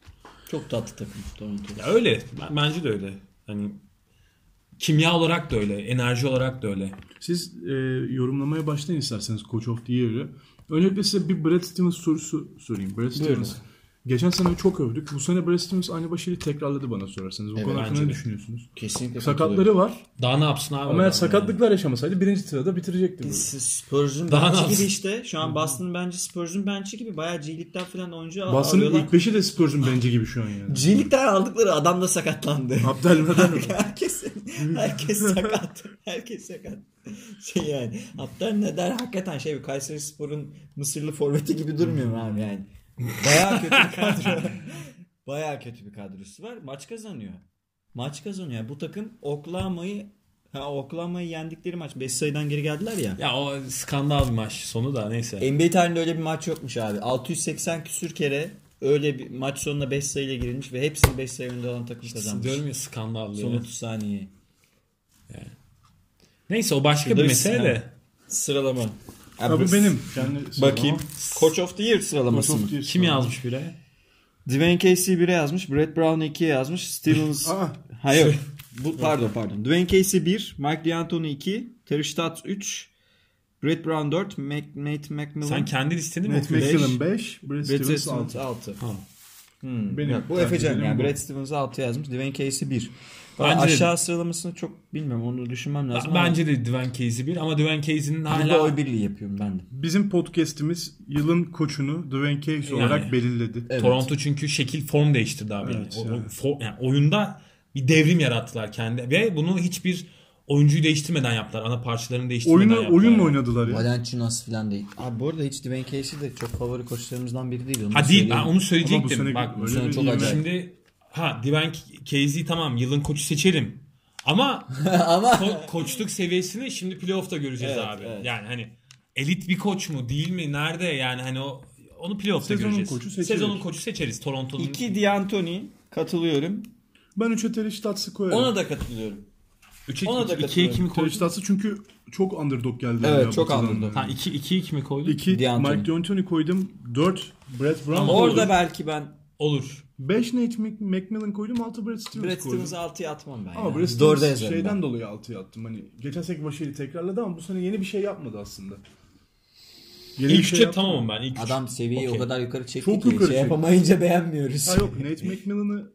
S2: çok tatlı takım Toronto.
S3: Ya öyle. Ben- Bence de öyle. Hani kimya olarak da öyle, enerji olarak da öyle.
S1: Siz e, yorumlamaya başlayın isterseniz Coach of the Year'ı. Öncelikle size bir Brad Stevens sorusu sorayım. Brad Stevens. Geçen sene çok övdük. Bu sene Brad Stevens aynı başarıyı tekrarladı bana sorarsanız. Bu konu hakkında
S3: bence
S1: ne
S3: de.
S1: düşünüyorsunuz?
S2: Kesinlikle
S1: Sakatları var.
S3: Daha ne yapsın abi?
S1: Ama eğer
S3: adam
S1: sakatlıklar yaşamasaydı birinci sırada bitirecekti. bu.
S2: Spurs'un
S3: Daha
S2: bench'i
S3: nasıl?
S2: gibi işte. Şu an Boston'ın bence Spurs'un bench'i gibi bayağı G-League'den falan oyuncu al-
S1: Basının
S2: alıyorlar.
S1: ilk beşi de Spurs'un bence gibi şu an yani.
S2: G-League'den aldıkları adam da sakatlandı. *laughs*
S1: Abdelkader mi?
S2: herkes herkes sakat. Herkes sakat. Şey yani. Hatta Neder hakikaten şey bir Kayseri Spor'un Mısırlı forveti gibi durmuyor mu abi yani. Baya kötü bir *laughs* kadro. Baya kötü bir kadrosu var. Maç kazanıyor. Maç kazanıyor. Bu takım Oklahoma'yı ha Oklahoma'yı yendikleri maç 5 sayıdan geri geldiler ya.
S3: yani. Ya o skandal bir maç sonu da neyse.
S2: NBA tarihinde öyle bir maç yokmuş abi. 680 küsür kere öyle bir maç sonuna 5 sayıyla girilmiş ve hepsini 5 sayı önde olan takım kazanmış.
S3: Diyorum ya skandal diye.
S2: Son 30 saniye.
S3: Neyse o başka
S2: Şurada
S3: bir
S2: bir
S3: mesele
S2: sinema.
S3: de.
S2: Sıralama.
S1: Ya bu benim. Kendi
S2: Bakayım.
S1: sıralama.
S2: Coach of the Year sıralaması mı?
S1: Soft diye
S3: Kim
S1: sıralama.
S3: yazmış bile?
S2: Dwayne Casey 1'e yazmış. Brett Brown 2'ye yazmış. Stevens...
S1: Aa.
S2: *laughs* Hayır. Bu, pardon pardon. Dwayne Casey 1, Mike D'Antoni 2, Terry Stotts 3, Brett Brown 4, Mac, Nate McMillan...
S3: Sen kendi listeni mi
S1: Nate
S3: okuyorsun?
S1: McKinnon 5, Brad
S2: Brett
S1: Stevens
S2: Stevens
S1: 6.
S2: 6.
S3: Ha.
S1: Benim
S2: bu
S1: tercih
S2: Efecan
S1: ederim
S2: yani.
S1: bu.
S2: Brett Stevens 6 yazmış. Dwayne Casey 1.
S3: Bence de-
S2: aşağı sıralamasını çok bilmiyorum. Onu düşünmem
S3: Ben-
S2: lazım.
S3: Bence de Dwayne Casey bir ama Dwayne Casey'nin
S2: ama burada oy
S3: hala
S2: birliği yapıyorum ben de.
S1: Bizim podcast'imiz yılın koçunu Dwayne Case
S3: Yani.
S1: olarak belirledi.
S2: Evet.
S3: Toronto çünkü şekil form değiştirdi abi.
S1: Evet,
S3: yani. O-
S1: yani.
S3: o- fo- yani oyunda bir devrim yarattılar kendi ve bunu hiçbir oyuncuyu değiştirmeden yaptılar. Ana parçalarını değiştirmeden
S1: Oyunu
S3: yaptılar.
S1: oyunla
S3: yani.
S1: oynadılar ya.
S2: Valenciunas falan değil. Abi bu arada hiç Dwayne Casey de çok favori koçlarımızdan biri değil. Onu
S3: Ha değil
S2: söyleyeyim.
S3: ben onu
S1: Ama bu
S3: söyleyecektim.
S1: sene
S3: Bak
S1: öyle
S2: sene
S1: bir
S2: çok
S1: ivme-
S2: acayip.
S3: şimdi ha Dwayne Casey tamam yılın koçu seçelim. Ama
S2: *laughs* Ama
S3: ko- koçluk seviyesini şimdi playoff'ta göreceğiz
S2: Evet,
S3: abi.
S2: evet.
S3: Yani hani elit bir koç mu değil mi nerede yani hani o onu playoff'ta
S1: Sezonun
S3: göreceğiz.
S1: koçu seçeriz.
S3: Sezonun koçu seçeriz Toronto'nun.
S2: 2 D'Antoni katılıyorum.
S1: Ben 3'e Terry Stotts'ı koyarım.
S2: Ona da katılıyorum.
S3: Üçe,
S2: Ona da
S3: iki- ikiye
S2: katılıyorum.
S3: kimi
S1: Terry
S3: koydun?
S1: Stotts'ı çünkü çok underdog geldi.
S2: Evet, çok underdog.
S3: Ha 2 2 kimi koydun?
S1: 2
S2: D'Antoni.
S1: Mike D'Antoni koydum. 4 Brett Brown
S3: Ama
S1: koydum.
S2: Orada belki ben
S3: Olur.
S1: 5 Nate Mc- McMillan koydum. 6 Brett Stevens
S2: Brad
S1: koydum.
S2: Stevens'ı 6'ya atmam ben.
S1: Ama
S2: ya.
S1: Brett
S2: Dörde
S1: Stevens
S2: yazarım
S1: şeyden
S2: ben.
S1: dolayı 6'ya attım. Hani geçen seneki başarıyı tekrarladı ama bu sene yeni bir şey yapmadı aslında. Yeni bir
S3: İlk
S1: şey
S3: üçe
S1: yapmadı.
S3: tamamım ben. İlk üç.
S2: Adam seviyeyi
S3: Okey.
S2: o kadar yukarı çekti
S1: Çok
S2: ki
S1: yukarı
S2: şey
S1: çekti.
S2: yapamayınca beğenmiyoruz.
S1: Ha yok Nate McMillan'ı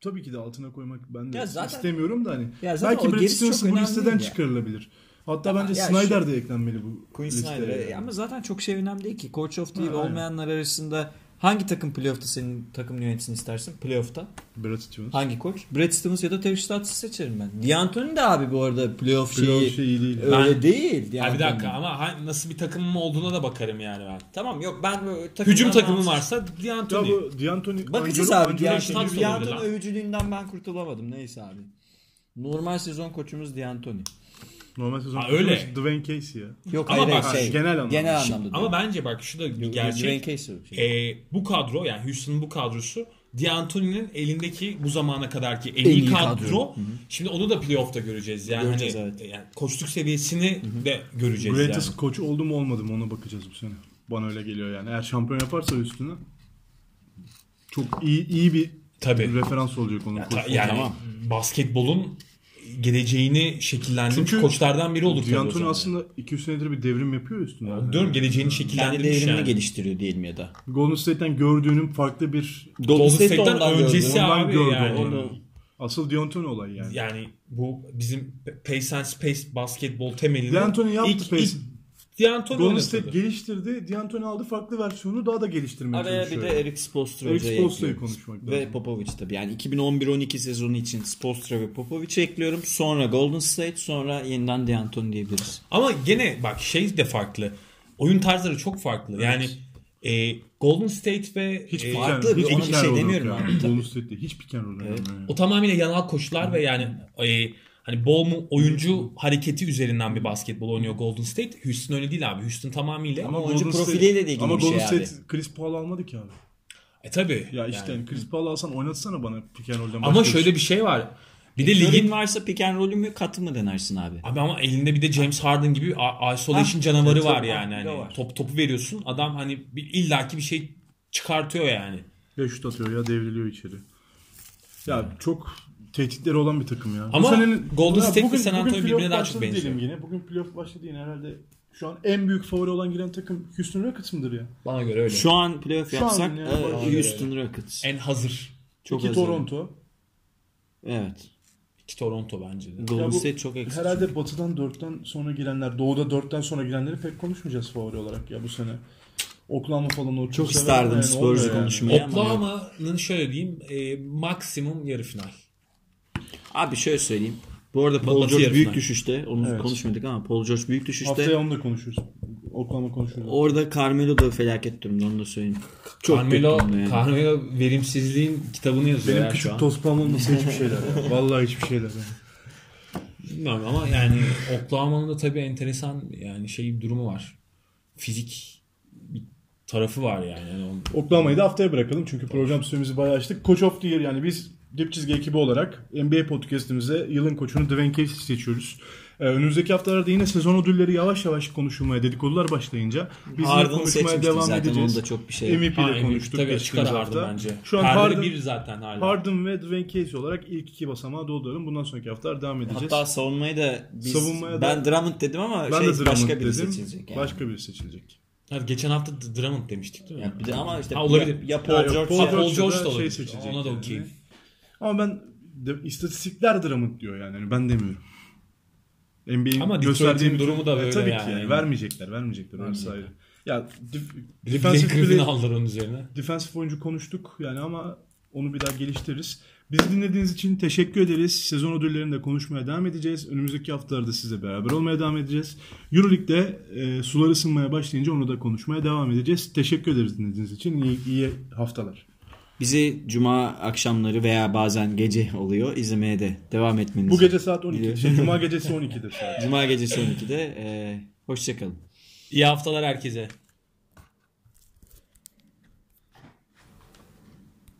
S1: tabii ki de altına koymak ben de
S2: e, Ya zaten-
S1: istemiyorum da hani
S2: Ya zaten o
S1: belki Brad
S2: gerisi çok
S1: Stevens bu
S2: önemli
S1: listeden
S2: değil ya.
S1: çıkarılabilir. Hatta
S2: Ama
S1: bence
S2: ya şey-
S1: Snyder de eklenmeli bu
S2: Quinn
S1: listeye.
S2: Snyder'e. Ama zaten çok şey önemli değil ki. Coach of the Year
S1: Ha, aynen.
S2: olmayanlar arasında hangi takım playoff'ta senin takım yönetsin istersin? Playoff'ta.
S1: Brad Stevens.
S2: Hangi koç? Brad Stevens ya da Terry Stotts'ı seçerim ben. D'Antoni de abi bu arada playoff şeyi.
S1: Playoff şeyi şey değil.
S2: Öyle
S3: Ben-
S2: değil.
S3: Ha, bir
S2: D'Antoni.
S3: dakika ama ha- nasıl bir takımım olduğuna da bakarım yani ben.
S2: Tamam yok ben böyle takımdan
S3: Hücum takımım
S2: rahatsız-
S3: varsa
S1: Ya
S3: D'Antoni.
S1: bu D'Antoni
S2: Bakacağız
S1: Angelo-
S2: abi.
S1: Angelo
S2: D'Antoni,
S1: Stevens-
S3: Stotts olabilir
S2: D'Antoni
S3: lan.
S2: övücülüğünden ben kurtulamadım. Neyse abi. Normal sezon koçumuz D'Antoni.
S1: Normal sezon
S3: Ha, öyle.
S1: koçu Dwayne Casey ya.
S2: Yok
S3: Ama
S2: hayır
S3: bak,
S2: hayır, şey.
S1: genel anlamda.
S2: Genel anlamda.
S3: Ama bence bak şu da bir gerçek. Ee, bu kadro yani Houston'ın bu kadrosu D'Antoni'nin elindeki bu zamana kadarki en, iyi
S2: iyi
S3: kadro.
S2: kadro.
S3: Şimdi onu da playoff'ta göreceğiz. Yani
S2: Göreceğiz,
S3: hani
S2: evet.
S3: yani koçluk seviyesini de göreceğiz
S1: Greatest
S3: yani.
S1: koç oldu mu olmadı mı ona bakacağız bu sene. Bana öyle geliyor yani. Eğer şampiyon yaparsa üstüne çok iyi iyi bir
S3: Tabii.
S1: referans olacak onun
S3: Ta-
S1: koçu.
S3: yani
S2: Tamam.
S3: basketbolun geleceğini şekillendirmiş
S1: Çünkü
S3: koçlardan biri olur. tabii o
S1: D'Antoni
S3: zaman.
S1: aslında 2-3 senedir bir devrim yapıyor üstüne.
S3: Yani diyorum geleceğini
S2: Kendi
S3: şekillendirmiş
S2: devrimini
S3: yani.
S2: geliştiriyor diyelim ya da.
S1: Golden State'ten gördüğünün farklı bir
S3: Golden State'den öncesi
S2: gördüm.
S1: ondan
S3: abi
S1: gördü
S3: yani.
S1: onu.
S2: Onu-
S1: Asıl D'Antoni olay yani.
S3: Yani bu bizim Pace and Space basketbol temelini
S1: D'Antoni yaptı
S3: ilk,
S1: Pace.
S3: ilk D'Antoni
S1: Golden
S3: oynatıldı.
S1: State geliştirdi. D'Antoni aldı farklı versiyonu daha da geliştirmeye
S2: Araya bir
S1: çalışıyor.
S2: de Eric Spoelstra
S1: şey. Eric
S2: hocayı
S1: Spoelstra'yı
S2: ekliyorum.
S1: konuşmak
S2: Ve
S1: lazım.
S2: Popovic tabii. Yani 2011-12 sezonu için Spoelstra ve Popovic'i ekliyorum. Sonra Golden State, sonra yeniden D'Antoni diyebiliriz.
S3: Ama gene bak şey de farklı. Oyun tarzları çok farklı. Yani e, Golden State ve
S1: hiç
S3: e,
S1: pick and-
S2: farklı bir-
S1: hiç
S2: ona bir
S1: pick and
S2: şey
S1: roll yok
S2: demiyorum
S1: yani.
S2: abi, tabii.
S1: Golden State'de hiç pick and roll oynamıyor.
S3: o tamamıyla yanal koşular ve yani e, hani bol mu oyuncu hareketi üzerinden bir basketbol oynuyor Golden State. Houston öyle değil abi. Houston tamamıyla.
S2: Ama oyuncu
S1: Golden State-
S2: profiliyle de ilgili
S1: ama
S2: bir şey
S1: Golden
S2: abi.
S1: State Chris Paul almadı ki abi.
S3: E tabi.
S1: Ya işte yani Chris Paul alsan oynatsana bana pick and roll'den
S3: Ama
S1: başka bir
S3: şöyle
S1: şey.
S3: bir şey var. Bir
S2: E,
S3: de ligin
S2: varsa pick and roll'ü mü katı mı denersin abi?
S3: Abi ama elinde bir de James Harden gibi bir a- isolation canavarı
S2: evet,
S3: var
S2: Ah, tabii, bir
S3: yani.
S2: de
S3: Hani
S2: var.
S3: Top, topu veriyorsun adam hani bir, illaki bir şey çıkartıyor yani.
S1: Ya şut atıyor ya devriliyor içeri. Ya çok tehditleri olan bir takım ya.
S3: Ama
S1: senenin-
S3: Golden
S1: Ya
S3: State ve
S1: bugün-
S3: San Antonio
S1: bugün
S3: birbirine
S1: playoff
S3: daha çok
S1: başladı diyelim
S3: benziyor.
S1: Yine. Bugün playoff başladı yine herhalde şu an en büyük favori olan giren takım Houston Rockets'ımdır ya.
S3: Bana göre öyle.
S2: Şu an playoff
S1: Şu an
S2: yapsak
S1: yani
S2: e,
S1: bana
S3: göre
S2: Houston Rockets.
S3: en hazır.
S2: Çok
S1: İki
S2: hazır.
S1: E, Toronto.
S2: Evet.
S3: İki Toronto bence de.
S1: Ya
S2: Golden
S1: bu
S2: State çok eksik.
S1: Herhalde batıdan dörtten sonra girenler, doğuda dörtten sonra girenleri pek konuşmayacağız favori olarak ya bu sene. Oklahoma falan o
S2: Çok
S1: sever
S2: isterdim
S1: ama yani
S2: Spurs'u
S1: olmuyor yani.
S2: konuşmayı. Miami
S3: Oklahoma'nın şöyle diyeyim e, maksimum yarı final.
S2: Abi şöyle söyleyeyim. Bu arada
S3: Batı
S2: Paul George
S3: yarı
S2: büyük
S3: final.
S2: düşüşte. Onu
S1: Evet.
S2: konuşmadık ama Paul George büyük düşüşte.
S1: Haftaya onu da konuşuruz. Oklahoma konuşuruz.
S2: Orada Carmelo da felaket durumda onu da söyleyeyim. Çok
S3: Carmelo,
S2: kötü durumda yani.
S3: Carmelo verimsizliğin kitabını yazıyor
S1: Benim
S3: ya şu
S1: küçük
S3: an.
S1: tospam olmasa hiçbir
S3: *laughs*
S1: şeyler ya. Vallahi hiçbir şeyler ya.
S3: Bilmiyorum ama yani Oklahoma'nın da tabii enteresan yani şey bir durumu var. Fizik bir tarafı var yani. yani onun-
S1: Oklahoma'yı da haftaya bırakalım çünkü program süremizi bayağı açtık. Coach of the Year yani biz dip çizgi ekibi olarak NBA podcastimize yılın koçunu Dwayne Casey seçiyoruz. Ee, önümüzdeki haftalarda yine sezon ödülleri yavaş yavaş konuşulmaya, dedikodular başlayınca biz yine
S2: Harden'ı
S1: konuşmaya
S2: seçmiştik
S1: devam
S2: zaten,
S1: edeceğiz.
S2: onda çok bir şey yok.
S1: MVP
S3: Ha,
S1: ile
S3: evet,
S1: konuştuk
S3: Tabii
S1: geçtiğimiz
S3: çıkar Harden
S1: hafta.
S3: bence.
S1: Şu an
S3: Perde
S1: Harden,
S3: bir zaten hala.
S1: Harden ve Dwayne Casey olarak ilk iki basamağı dolduralım. Bundan sonraki haftalar devam edeceğiz.
S2: Hatta savunmayı da biz,
S1: Savunmaya da-
S2: ben Drummond dedim ama
S1: ben de
S2: şey,
S1: Drummond
S2: başka
S1: dedim.
S2: biri seçilecek. Yani.
S1: Başka biri seçilecek.
S3: Ha, geçen hafta D- Drummond demiştik değil mi?
S2: Ya bir de ama işte
S3: Ha, olabilir.
S2: ya, ya
S1: Ya
S2: Paul
S1: yok,
S2: George
S1: Paul
S2: ya-
S3: Ha,
S1: George-
S3: Paul George
S1: da
S3: da
S1: şey
S3: olabilir.
S1: seçecek
S3: Ona da
S1: yani.
S3: okey.
S1: Ama ben de, istatistikler Drummond diyor yani. Hani Ben demiyorum. NBA'in
S3: Ama
S1: gösterdiği
S3: Detroit'in
S1: bir-
S3: durumu da
S1: Ya
S3: böyle
S1: tabii ki
S3: yani.
S1: yani. Vermeyecekler, vermeyecekler. Orası ayrı.
S3: Vermeyecekler.
S1: Ya
S3: Bir de
S1: defensive,
S3: Blake Griffin'i
S1: play,
S3: aldılar onun üzerine.
S1: defensive oyuncu konuştuk yani ama onu bir daha geliştiririz. Bizi dinlediğiniz için teşekkür ederiz. Sezon ödüllerini de konuşmaya devam edeceğiz. Önümüzdeki haftalarda sizle beraber olmaya devam edeceğiz. Euroleague'de e, sular ısınmaya başlayınca onu da konuşmaya devam edeceğiz. Teşekkür ederiz dinlediğiniz için. İyi, iyi haftalar.
S2: Bizi cuma akşamları veya bazen gece oluyor izlemeye de devam etmenizi.
S1: Bu gece saat 12.
S2: Biliyorum.
S1: Şey, Cuma gecesi Ee, 12'dir saat.
S2: Cuma gecesi 12'de. E, hoşçakalın.
S3: İyi haftalar herkese.